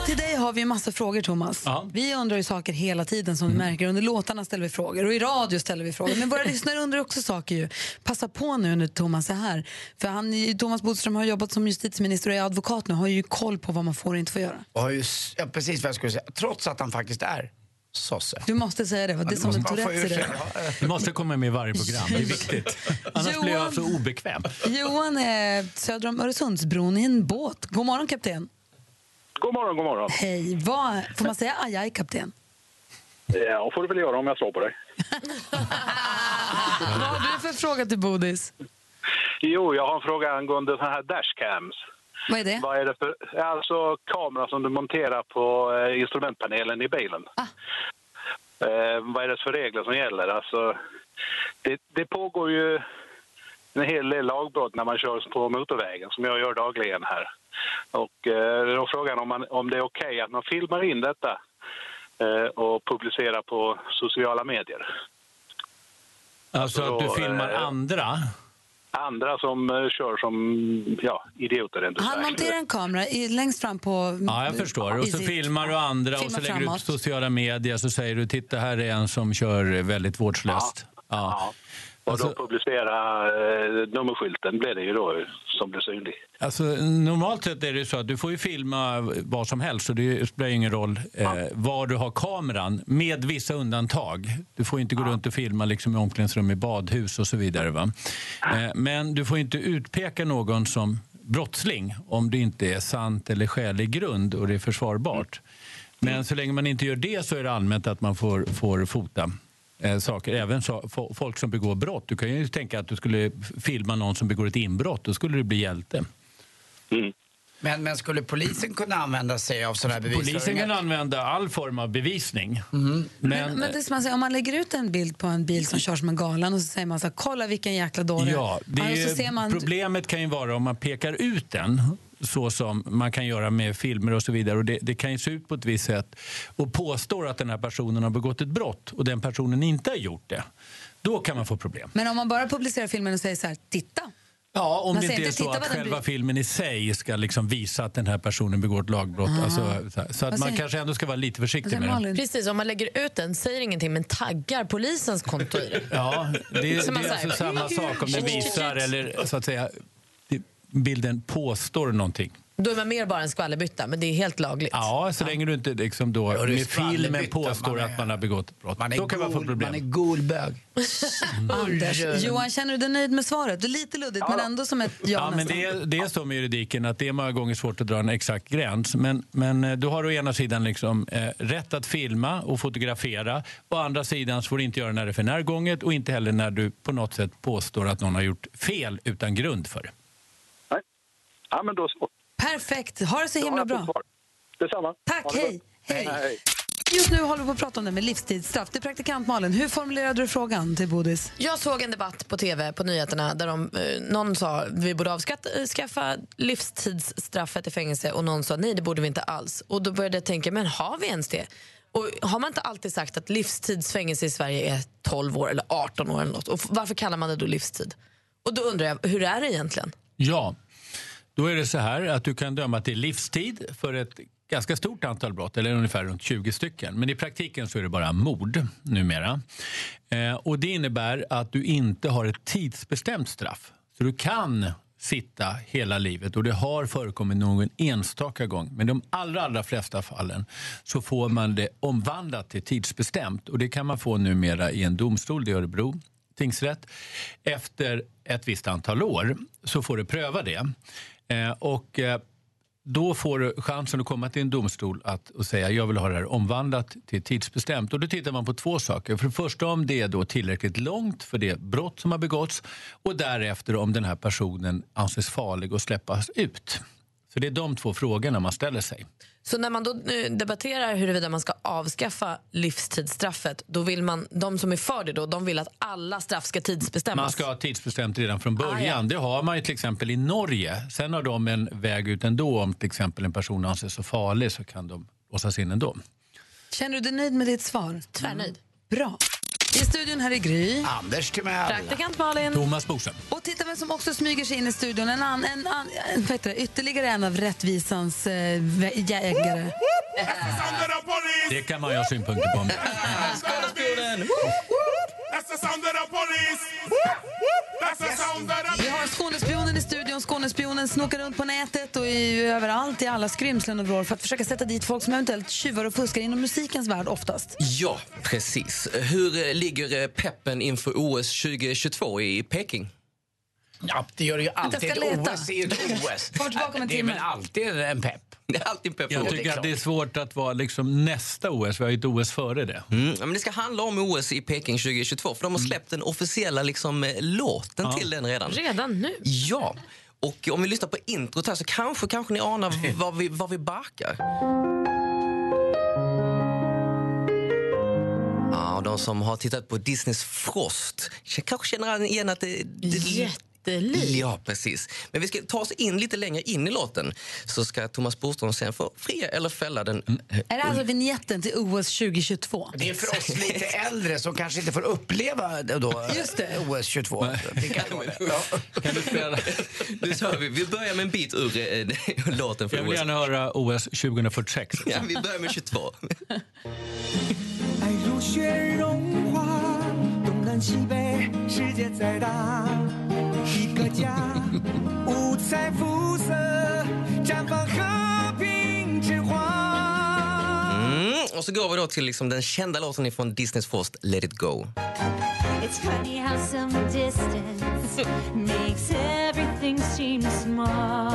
Till dig har vi en massa frågor, Thomas. Vi undrar ju saker hela tiden som du märker. Under låtarna ställer vi frågor och i radio ställer vi frågor. Men våra lyssnare undrar också saker ju. Passa på nu när Thomas är här. För han, är ju- Thomas Bodström har jobbat som justitieminister och är advokat nu. Har ju koll på vad man får och inte får göra. Och har ju, s- ja, precis vad jag skulle säga. Trots att han faktiskt är sosse. Du måste säga det, va? det är som en Tourettes i det. Du måste komma med i varje program, det är viktigt. Annars blir jag så obekväm. Johan är söder om Öresundsbron i en båt. God morgon, kapten. God morgon, god morgon. Hej. Vad, får man säga aj, aj, kapten? Ja, får du väl göra om jag slår på dig. Vad har du för fråga till Bodis? Jo, jag har en fråga angående såna här dashcams. Vad är det? Vad är det för... Alltså kamera som du monterar på eh, instrumentpanelen i bilen. Ah. Eh, vad är det för regler som gäller? Alltså, det, det pågår ju en hel del lagbrott när man kör på motorvägen, som jag gör dagligen här. Och eh, då är frågan om, man, om det är okej att man filmar in detta eh, och publicerar på sociala medier. Alltså att du filmar andra. Andra som eh, kör som ja, idioter, rent ut Han sagt. monterar en kamera i, längst fram på... Ja, jag förstår. Och i så sitt- filmar du andra och Filmar så lägger du ut framåt. sociala medier så säger du titta här är en som kör eh, väldigt vårdslöst. Ja. Alltså, Och då publicera eh, nummerskylten blir det ju då som blir synlig. Alltså, normalt sett är det ju så att du får ju filma vad som helst så det spelar ju ingen roll eh, var du har kameran med vissa undantag. Du får ju inte gå runt och filma liksom, i omklädningsrum i badhus och så vidare. Va? Eh, men du får ju inte utpeka någon som brottsling om det inte är sant eller skälig grund och det är försvarbart. Men så länge man inte gör det så är det allmänt att man får, får fota eh, saker. Även så, fo- folk som begår brott. Du kan ju tänka att du skulle filma någon som begår ett inbrott. Då skulle du bli hjälte. Mm. Men, men skulle polisen kunna använda sig av sådana här bevis? Polisen kan använda all form av bevisning. Men, men det är som man säger, om man lägger ut en bild på en bil som kör som en galan och så säger man så här, kolla vilken jäkla dåre. Ja, det och är, så ser man, Problemet kan ju vara om man pekar ut den så som man kan göra med filmer och så vidare. Och det, det kan ju se ut på ett visst sätt och påstår att den här personen har begått ett brott och den personen inte har gjort det. Då kan man få problem. men om man bara publicerar filmen och säger så här, titta. Ja, Om man det inte säger är så "Titta att vad den själva blir." filmen i sig ska liksom visa att den här personen begår ett lagbrott. Ah. Alltså, så här. så Vad att man säger- kanske ändå ska vara lite Alltså, försiktig med det. Precis, om man lägger ut den, säger ingenting men taggar polisens konto i det. Ja, det, det Så man är säger, alltså samma sak om den visar eller så att säga det- bilden påstår någonting. Då är man mer bara en skvallerbytta, men det är helt lagligt. Ja, så länge du inte liksom då, det är med filmen skvallerbytta, påstår att man har begått ett brott. Då kan man få problem. Man är golbög. Anders, Johan, känner du dig nöjd med svaret? Det är lite luddigt, men ändå som ett ja, Mm. Ja, men nästan. det, är, det är så med juridiken att det är många gånger svårt att dra en exakt gräns. Men, men eh, du har å ena sidan liksom, eh, rätt att filma och fotografera. Å andra sidan så får du inte göra det när det är för närgånget och inte heller när du på något sätt påstår att någon har gjort fel utan grund för det. Ja, men då så. Perfekt, ha det så himla bra. Detsamma. Tack, Ha det hej. gott. hej. Just nu håller vi på att prata om det med livstidsstraff. Det är praktikant Malin, hur formulerade du frågan till Bodis? Jag såg en debatt på tv på nyheterna där de, eh, någon sa vi borde avskaffa livstidsstraffet i fängelse och någon sa nej det borde vi inte alls. Och då började jag tänka, men har vi ens det? Och har man inte alltid sagt att livstidsfängelse i Sverige är 12 år eller 18 år eller något? Och f- varför kallar man det då livstid? Och då undrar jag, hur är det egentligen? Ja, då är det så här att du kan döma till livstid för ett ganska stort antal brott, eller ungefär runt 20 stycken. Men i praktiken så är det bara mord numera. Eh, och det innebär att du inte har ett tidsbestämt straff. Så du kan sitta hela livet och det har förekommit någon enstaka gång. Men i de allra, allra flesta fallen så får man det omvandlat till tidsbestämt och det kan man få numera i en domstol i Örebro tingsrätt. Efter ett visst antal år så får du pröva det. Eh, och eh, då får du chansen att komma till en domstol att, och säga jag vill ha det här omvandlat till tidsbestämt. Och då tittar man på två saker. För det första om det är då tillräckligt långt för det brott som har begåtts och därefter om den här personen anses farlig och släppas ut. Så det är de två frågorna man ställer sig. Så när man då eh, debatterar huruvida man ska avskaffa livstidsstraffet, då vill man, de som är för det då, de vill att alla straff ska tidsbestämmas. Man ska ha tidsbestämt redan från början. Ah, ja. Det har man ju till exempel i Norge. Sen har de en väg ut ändå. Om till exempel en person anses så farlig så kan de låsas in ändå. Känner du dig nöjd med ditt svar? Mm. Tvärnöjd. Bra. I studion här är Gry. Anders Timell. Praktikant Malin. Thomas Bodström. Och titta vem som också smyger sig in i studion. En an, en an, en, vad heter det, ytterligare en av rättvisans eh, vä- jägare. Det kan man ju ha synpunkter på. That's the sound of the police! That's the sound of the Vi har Skånespionen i studion. Skånespionen snokar runt på nätet och i, överallt i alla skrymslen och vrår för att försöka sätta dit folk som eventuellt tjuvar och fuskar inom musikens värld oftast. Ja, precis. Hur eh, ligger eh, peppen inför OS 2022 i Peking? Ja, det gör det ju alltid. Jag ska Ett leta. OS är ju ett OS. Var tillbaka om en det är timme. väl alltid en pepp? Det är alltid en pepp. Jag tycker att det är svårt att vara liksom nästa OS. Vi har ju ett OS före det. Mm. Mm, ja, men det ska handla om OS i Peking 2022 för de har släppt den officiella liksom, eh, låten till den redan. Redan nu? Ja. Och om vi lyssnar på introt här så kanske, kanske ni anar v- vad vi, vad vi backar. Ja, och de som har tittat på Disneys Frost k- kanske känner igen att det... det Jättelikt. Ja, precis. Men vi ska ta oss in lite längre in i låten så ska Thomas Bodström sen få fria eller fälla den. Mm. Är det alltså vignetten till OS 2022? Det är för oss lite äldre som kanske inte får uppleva det då, Just det. OS 22. Det kan vara det. Ja. Nu kör vi. Vi börjar med en bit ur eh, låten för Jag vill OS. gärna höra OS 2046. Ja, vi börjar med 22. 爱如雪融化，东南西北，世界再大，一个家，五彩肤色，绽放和平之花。 Mm, och så går vi då till liksom den kända låten från Disneys Frost, Let it go. It's funny how some distance makes everything. everything seems small.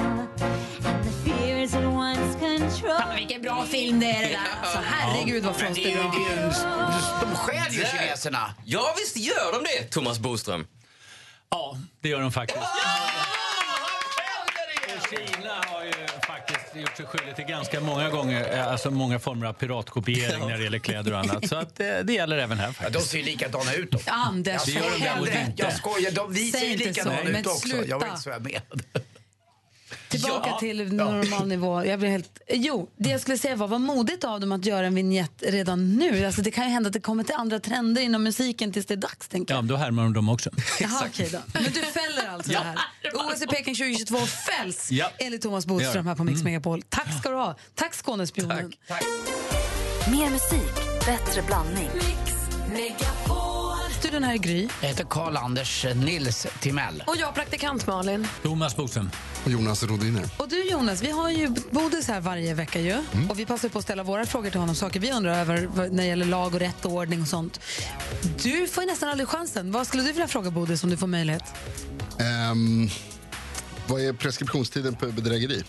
And the fear is at once control. Fan, vilken bra film det är det där. Alltså, herregud vad Frost är bra. De skäl ju kineserna. Ja, visst gör de det, Thomas Boström. Ja, det gör de faktiskt. Och Kina har ju faktiskt gjort sig skyldig till ganska många gånger, eh, alltså många former av piratkopiering när det gäller kläder och annat. Så att eh, det gäller även här faktiskt. de ser ju likadana ut då. Anders, jag vad hände? skojar, jag skojar. De, vi Säg ser ju inte likadana så, ut men också. Jag sluta. vet inte så jag menade. Tillbaka Ja. till normal nivå. Jag blir helt... Jo, det jag skulle säga var vad modigt av dem att göra en vignett redan nu. Alltså, det kan ju hända att det kommer till andra trender inom musiken tills det är dags. Tänker Ja, men då härmar de dem också. jag. Jaha, okej då. Men du fäller alltså det här. OS i Peking 2022 fälls Ja. enligt Thomas Bodström här på Mm. Mix Megapol. Tack ska du ha. Tack Skånespionen. Mer musik, bättre blandning. Studion här är Gry. Jag heter Karl-Anders Nils Timell. Och jag praktikant Malin. Thomas Bodström. Jonas Rodiner. Och du Jonas, vi har ju Bodis här varje vecka ju. Mm. Och vi passar på att ställa våra frågor till honom, saker vi undrar över vad- när det gäller lag och rätt och ordning och sånt. Du får ju nästan aldrig chansen. Vad skulle du vilja fråga Bodis om du får möjlighet? Ehm, vad är preskriptionstiden på bedrägeri?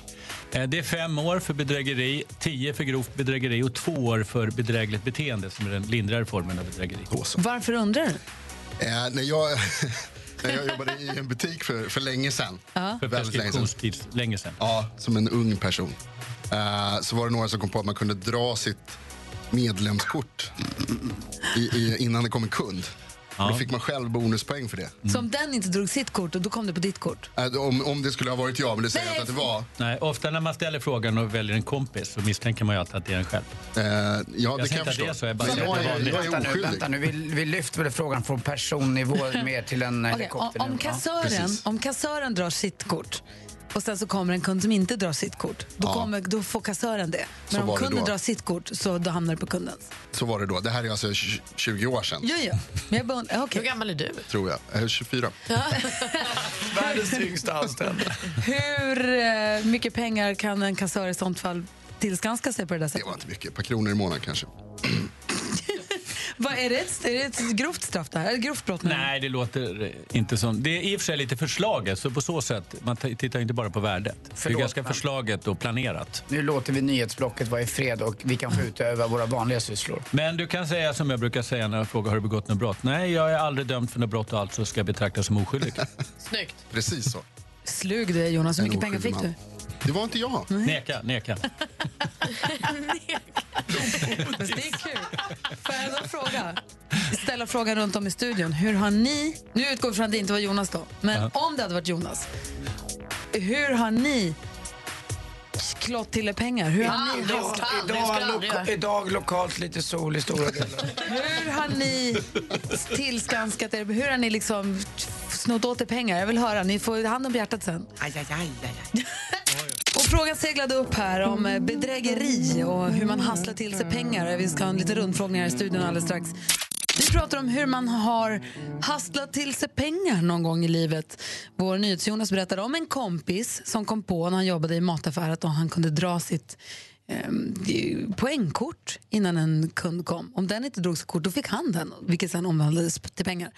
Eh, Det är fem år för bedrägeri, tio för grovt bedrägeri och två år för bedrägligt beteende som är den lindrigare formen av bedrägeri. Varför undrar du? Eh, när, jag, när jag jobbade i en butik för, för länge sedan. Ja. För preskriptionstid, länge sedan. Ja, som en ung person. Eh, så var det några som kom på att man kunde dra sitt medlemskort i, i, innan det kom en kund. Då fick man själv bonuspoäng för det. Så om den inte drog sitt kort och då kom det på ditt kort. Eh, om, om det skulle ha varit jag, men det säger jag Nej, inte att det var. Nej, ofta när man ställer frågan och väljer en kompis så misstänker man ju alltid att det är en själv. Eh, ja, jag säger inte att det är så, jag bara säger att det var vanligt. vänta nu, vänta nu. Vi, vi lyfter väl frågan från personnivå mer till en Okej, helikopter. om, om, kassören, om kassören drar sitt kort och sen så kommer en kund som inte drar sitt kort, då, Ja. kommer, då får kassören det. Så Men om var det kunden då. drar sitt kort så då hamnar det på kundens. Så var det då. Det här är alltså 20 år sedan, Ja, ja. Men jag bara, undrar- okej. Hur gammal är du? tror jag. Eh, 24. Världens tyngsta anställd. Hur eh, mycket pengar kan en kassör i sånt fall tillskanska sig på det där sättet? Inte mycket. Ett par kronor i månaden kanske. Vad är, det ett, är det ett grovt straff det här? Är det grovt brott? menar Mm. Nej, det låter eh, inte som... Det är i och för sig lite förslaget, så på så sätt, man t- tittar inte bara på värdet. det Förlåt, är ganska men- förslaget och planerat. Nu låter vi nyhetsblocket vara i fred och vi kan få Mm. utöva våra vanliga sysslor. Men du kan säga som jag brukar säga när jag frågar har du begått något brott. Nej, jag är aldrig dömd för något brott och alltså ska jag betraktas som oskyldig. Snyggt. Precis så. du? Slug du är, Jonas. Hur En mycket pengar fick oskyldig du? Det var inte jag. Neka, neka. Men det är kul. Får jag ändå fråga? Ställa frågan runt om i studion. Hur har ni, nu utgår vi från att det inte var Jonas då, men Ja. om det hade varit Jonas. Hur har ni klått till er pengar? Hur har ni Idag, haft- idag, loka, idag lokalt lite sol i stora delar. Hur har ni tillskanskat er? Hur har ni liksom snott åt er pengar? Jag vill höra. Ni får hand om hjärtat sen. Aj, aj, aj, aj. Och frågan seglade upp här om eh, bedrägeri och hur man hasslar till sig pengar. Vi ska ha en liten rundfrågning här i studion alldeles strax. Vi pratar om hur man har hasslat till sig pengar någon gång i livet. Vår NyhetsJonas berättade om en kompis som kom på när han jobbade i mataffär att han kunde dra sitt eh, poängkort innan en kund kom. Om den inte drog sitt kort, då fick han den, vilket sen omvandlades till pengar.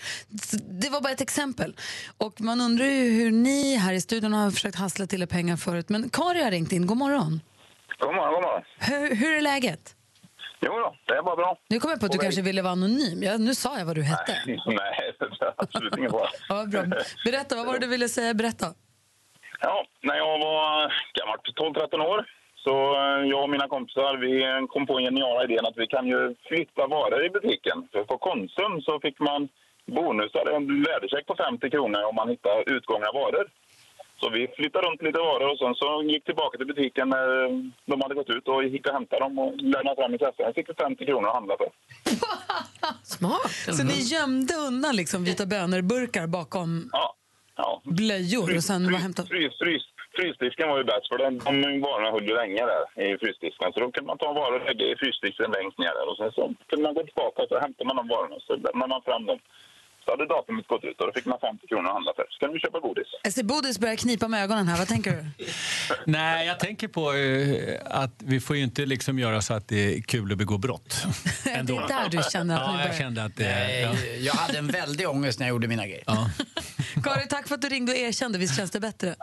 Så Det var bara ett exempel. Och Man undrar ju hur ni här i studion har försökt hassla till er pengar förut. Men Kari har ringt in. God morgon. God morgon, god morgon. Hur, hur är läget? Jo då, det är bara bra. Nu kom jag på att du kanske ville vara anonym. Ja, nu sa jag vad du hette. Nej, det är absolut inget bra. Ja, vad bra. Berätta, vad var det du ville säga? Berätta. Ja, när jag var eh, gammalt, 12-13 år, så eh, jag och mina kompisar vi eh, kom på en geniala idén att vi kan ju flytta varor i butiken. För på Konsum så fick man bonusar, en värdecheck på 50 kronor om man hittar utgångna varor. Så vi flyttade runt lite varor och sen så gick tillbaka till butiken när eh, de hade gått ut och gick och hämtade dem och lämnade fram i kassan. Jag fick vi 50 kronor att handla för. Smart. Så ni gömde undan liksom vita bönor-burkar bakom Ja. blöjor och sen bara hämtade... Frys, frys, frysdisken var ju bäst, för den, de varorna höll ju länge där i frysdisken. Så då kunde man ta varor och lägga i frysdisken längst ner där. Och sen så kunde man gå tillbaka och så hämtade man de varorna och så lämnade man fram dem. Så hade datumet gått ut och då fick man 50 kronor att handla för. Så kunde vi köpa godis. Jag ser Bodis börjar knipa med ögonen här. Vad tänker du? Nej, jag tänker på eh, att vi får ju inte liksom göra så att det är kul att begå brott. Ändå. Det är där du känner att nu ja, jag börjar- kände att... Nej, jag hade en väldig ångest när jag gjorde mina grejer. Ja. Karin, tack för att du ringde och erkände. Visst känns det bättre?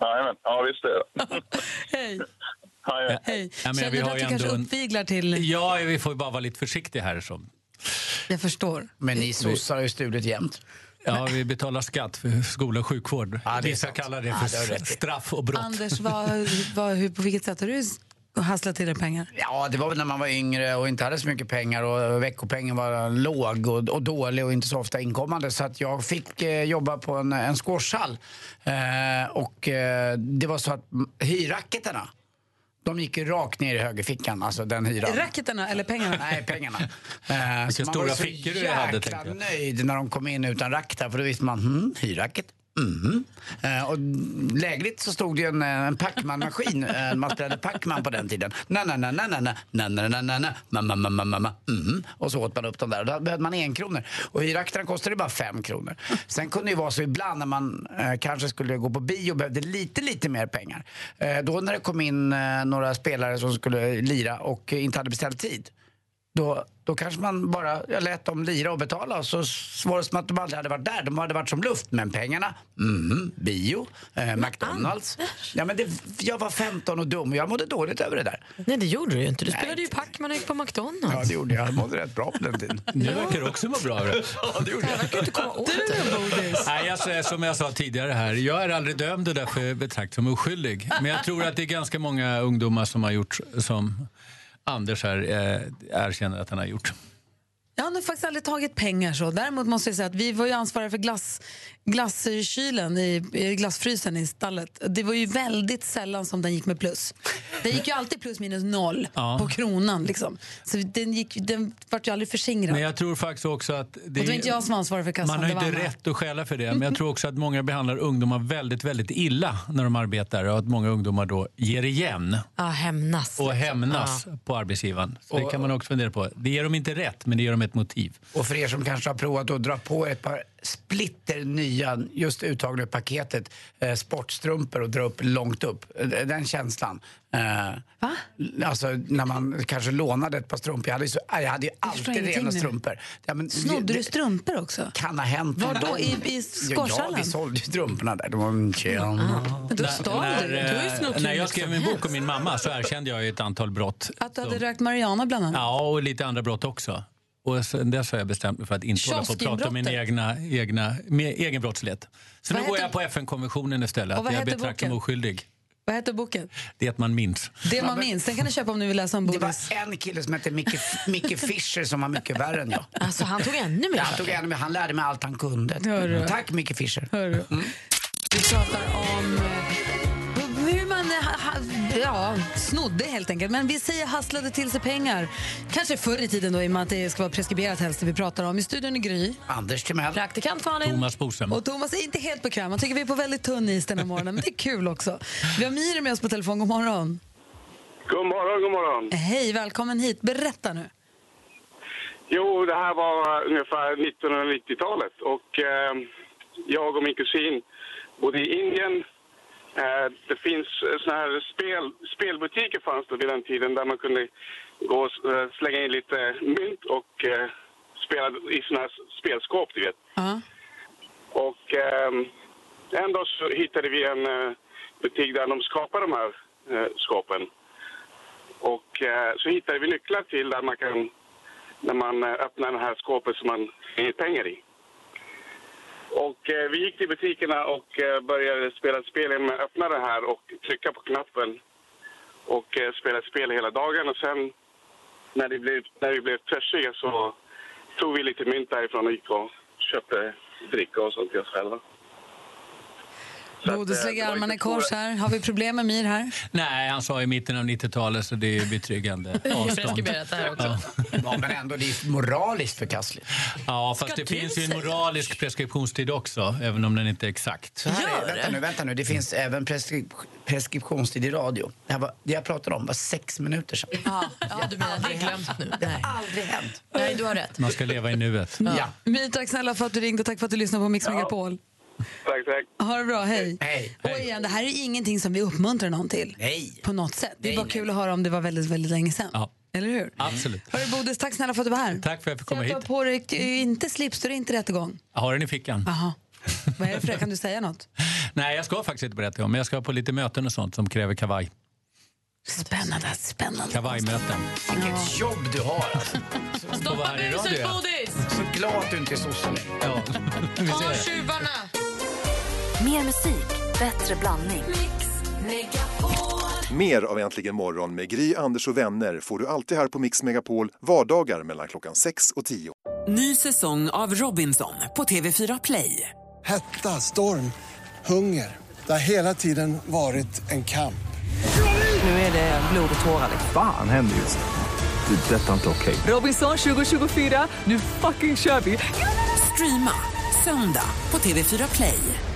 Jajamän, ja visst det är det. Hej! Jajamän. Hej. Ja, men Känner vi du har att ju du kanske ändå en- uppviglar till... Ja, vi får ju bara vara lite försiktiga här. Som. Jag förstår. Men ni sossar har ju stulit jämt. Ja, vi betalar skatt för skola och sjukvård. det är Vissa sant. kallar det Ja, det har du för rätt i. straff och brott. Anders, vad, vad, hur, på vilket sätt har du hasslat till dig pengar? Ja, det var väl när man var yngre och inte hade så mycket pengar och veckopengen var låg och, och dålig och inte så ofta inkommande. Så att jag fick eh, jobba på en, en squashhall. Eh, och eh, det var så att m- hyrracketarna, de gick ju rakt ner i högerfickan, alltså den hyran. Racketarna eller pengarna? Nej, pengarna. Eh, Vilka stora fickor du hade, tänkte tänkte jag. jag. nöjd när de kom in utan racketar för då visste man, hmm, hyrracket. Mhm. Eh, och lägligt så stod det ju en, eh, en Pacman-maskin. Eh, man spelade Pacman på den tiden. Na, na, na, na, na, na, na, na, na, na, na, ma, ma, ma, ma, ma, ma, mhm. Och så åt man upp dem där. Och då behövde man en kronor. Och hyrakterna kostade bara fem kronor. Sen kunde det ju vara så ibland när man eh, kanske skulle gå på bio och behövde lite, lite mer pengar. Eh, då när det kom in eh, några spelare som skulle lira och eh, inte hade beställt tid då, då kanske man bara jag lät dem lira och betala. Och så s- var det som att de aldrig hade varit där. De hade varit som luft. Men pengarna, mm, bio, eh, McDonalds. Ja, men det, jag var 15 och dum och jag mådde dåligt över det där. Nej, det gjorde du ju inte. Du spelade ju Pacman och gick på McDonalds. Ja, det gjorde jag. Jag mådde rätt bra på den tiden. Du verkar också må bra av det. Nej, jag säger som jag sa tidigare här, jag är aldrig dömd och därför betraktad som oskyldig. Men jag tror att det är ganska många ungdomar som har gjort som Anders här eh, erkänner att han har gjort. Jag har nog faktiskt aldrig tagit pengar så. Däremot måste jag säga att vi var ju ansvariga för glass, glasskylen, i, i glassfrysen i stallet. Det var ju väldigt sällan som den gick med plus. Den gick ju alltid plus minus noll Ja. på kronan liksom. Så den, gick, den vart ju aldrig försingrad. Men jag tror faktiskt också att... det, och det var inte jag som var ansvarig för kassan. Man har det ju var inte Anna. rätt att skälla för det, men jag tror också att många behandlar ungdomar väldigt, väldigt illa när de arbetar och att många ungdomar då ger igen Ja, hämnas. och hämnas Ja. på arbetsgivaren. Så det Och- kan man också fundera på. Det ger dem inte rätt, men det ger dem ett motiv. Och för er som kanske har provat att dra på ett par splitter nya, just uttagna ur paketet, eh, sportstrumpor och dra upp långt upp. Eh, Den känslan. Eh, Alltså när man kanske lånade ett par strumpor. Jag hade ju, så, jag hade ju förstår alltid ingenting rena nu. strumpor. Ja, men, Snodde du strumpor också? Kan ha hänt. Var då? I, i Ja, ja, skårshallen? vi sålde ju strumporna där. De var tjena. Men då stal du. Du har ju snott hur När jag mycket skrev som min bok helst. om min mamma så erkände jag ju ett antal brott. Att du hade rökt marijuana bland annat? Ja, och lite andra brott också. Och sen dess har jag bestämt mig för att inte hålla på och prata om min egna, egna, min egen brottslighet. Så Vad nu går heter- jag på FN-konventionen istället. Och vad Att jag heter betraktas som boken? oskyldig. Vad heter boken? Det man minns. Det man minns. Den kan du köpa om du vill läsa om Det var Bodis. en kille som hette Micke, Micke Fischer som var mycket värre än jag. Alltså, han tog ännu mer. Ja, Han, tog ännu mer. han lärde mig allt han kunde. Hörru. Tack Mm. Micke Fischer. Vi pratar om eh, hur man eh, ha, ha, ja, snodde helt enkelt. Men vi säger hasslade till sig pengar. Kanske förr i tiden då i och med att det ska vara preskriberat helst det vi pratar om. I studion i Gry. Anders Timell. Praktikant Malin. Thomas Bodström. Och Thomas är inte helt bekväm. Han tycker vi är på väldigt tunn is den här morgonen. Men det är kul också. Vi har Miri med oss på telefon. God morgon. God morgon, god morgon. Hej, välkommen hit. Berätta nu. Jo, det här var ungefär 1990-talet och eh, jag och min kusin bodde i Indien. Eh, det finns eh, såna här spel, spelbutiker fanns det vid den tiden där man kunde gå och s- eh, slänga in lite mynt och eh, spela i såna här s- spelskåp, du vet. Och eh, en dag så hittade vi en eh, butik där de skapar de här eh, skåpen. Och eh, så hittade vi nycklar till där man kan när man eh, öppnar det här skåpet som man har pengar i. Och eh, vi gick till butikerna och eh, började spela ett spel med att öppna det här och trycka på knappen och eh, spela ett spel hela dagen och sen när, det blev, när vi blev törstiga så tog vi lite mynt därifrån och gick och köpte dricka och sånt till oss själva. Bodil eh, slänger armarna i kors här. Har vi problem med Mir här? Nej, han sa i mitten av 90-talet så det är betryggande avstånd. Ja, men ändå, det är moraliskt förkastligt. Ja, fast det finns ju en moralisk preskriptionstid också, även om den inte är exakt. Så här är, det. vänta nu, vänta nu. Det finns även preskri preskriptionstid i radio. Det, här var, det jag pratade om var sex minuter sedan. Ja, ja du menar, det är glömt nu. Det har aldrig hänt. Nej, du har rätt. Man ska leva i nuet. Ja. My, tack snälla för att du ringde och tack för att du lyssnade på Mix Megapol. Tack, tack. Ha det bra, hej. Och igen, det här är ingenting som vi uppmuntrar någon till. Nej. På något sätt. Det är Nej, bara nej. kul att höra om det var väldigt, väldigt länge sedan. Ja. Eller hur? Absolut. Hörru Bodis, tack snälla för att du var här. Tack för att jag fick komma Du hit. har på dig eh, inte slips, du är inte rättegång. Jag har den i fickan. Jaha. Vad är det för det? Kan du säga något? Nej, jag ska faktiskt inte berätta om, men jag ska på lite möten och sånt som kräver kavaj. Spännande, spännande. Kavajmöten. Vilket jobb du har alltså. Stoppa här i buset, radio, ja. Bodis! Så glad att du inte är sosse längre. Ja. Vi ser det. tjuvarna! Mer musik, bättre blandning. Mer av Äntligen morgon med Gry, Anders och vänner får du alltid här på Mix Megapol vardagar mellan klockan 6 och 10. Ny säsong av Robinson på TV4 Play. Hetta, storm, hunger. Det har hela tiden varit en kamp. Nu är det blod och tårar. Fan händer just nu. Det. är Detta är inte okej. Robinson 2024, nu fucking kör vi! Streama söndag på TV4 Play.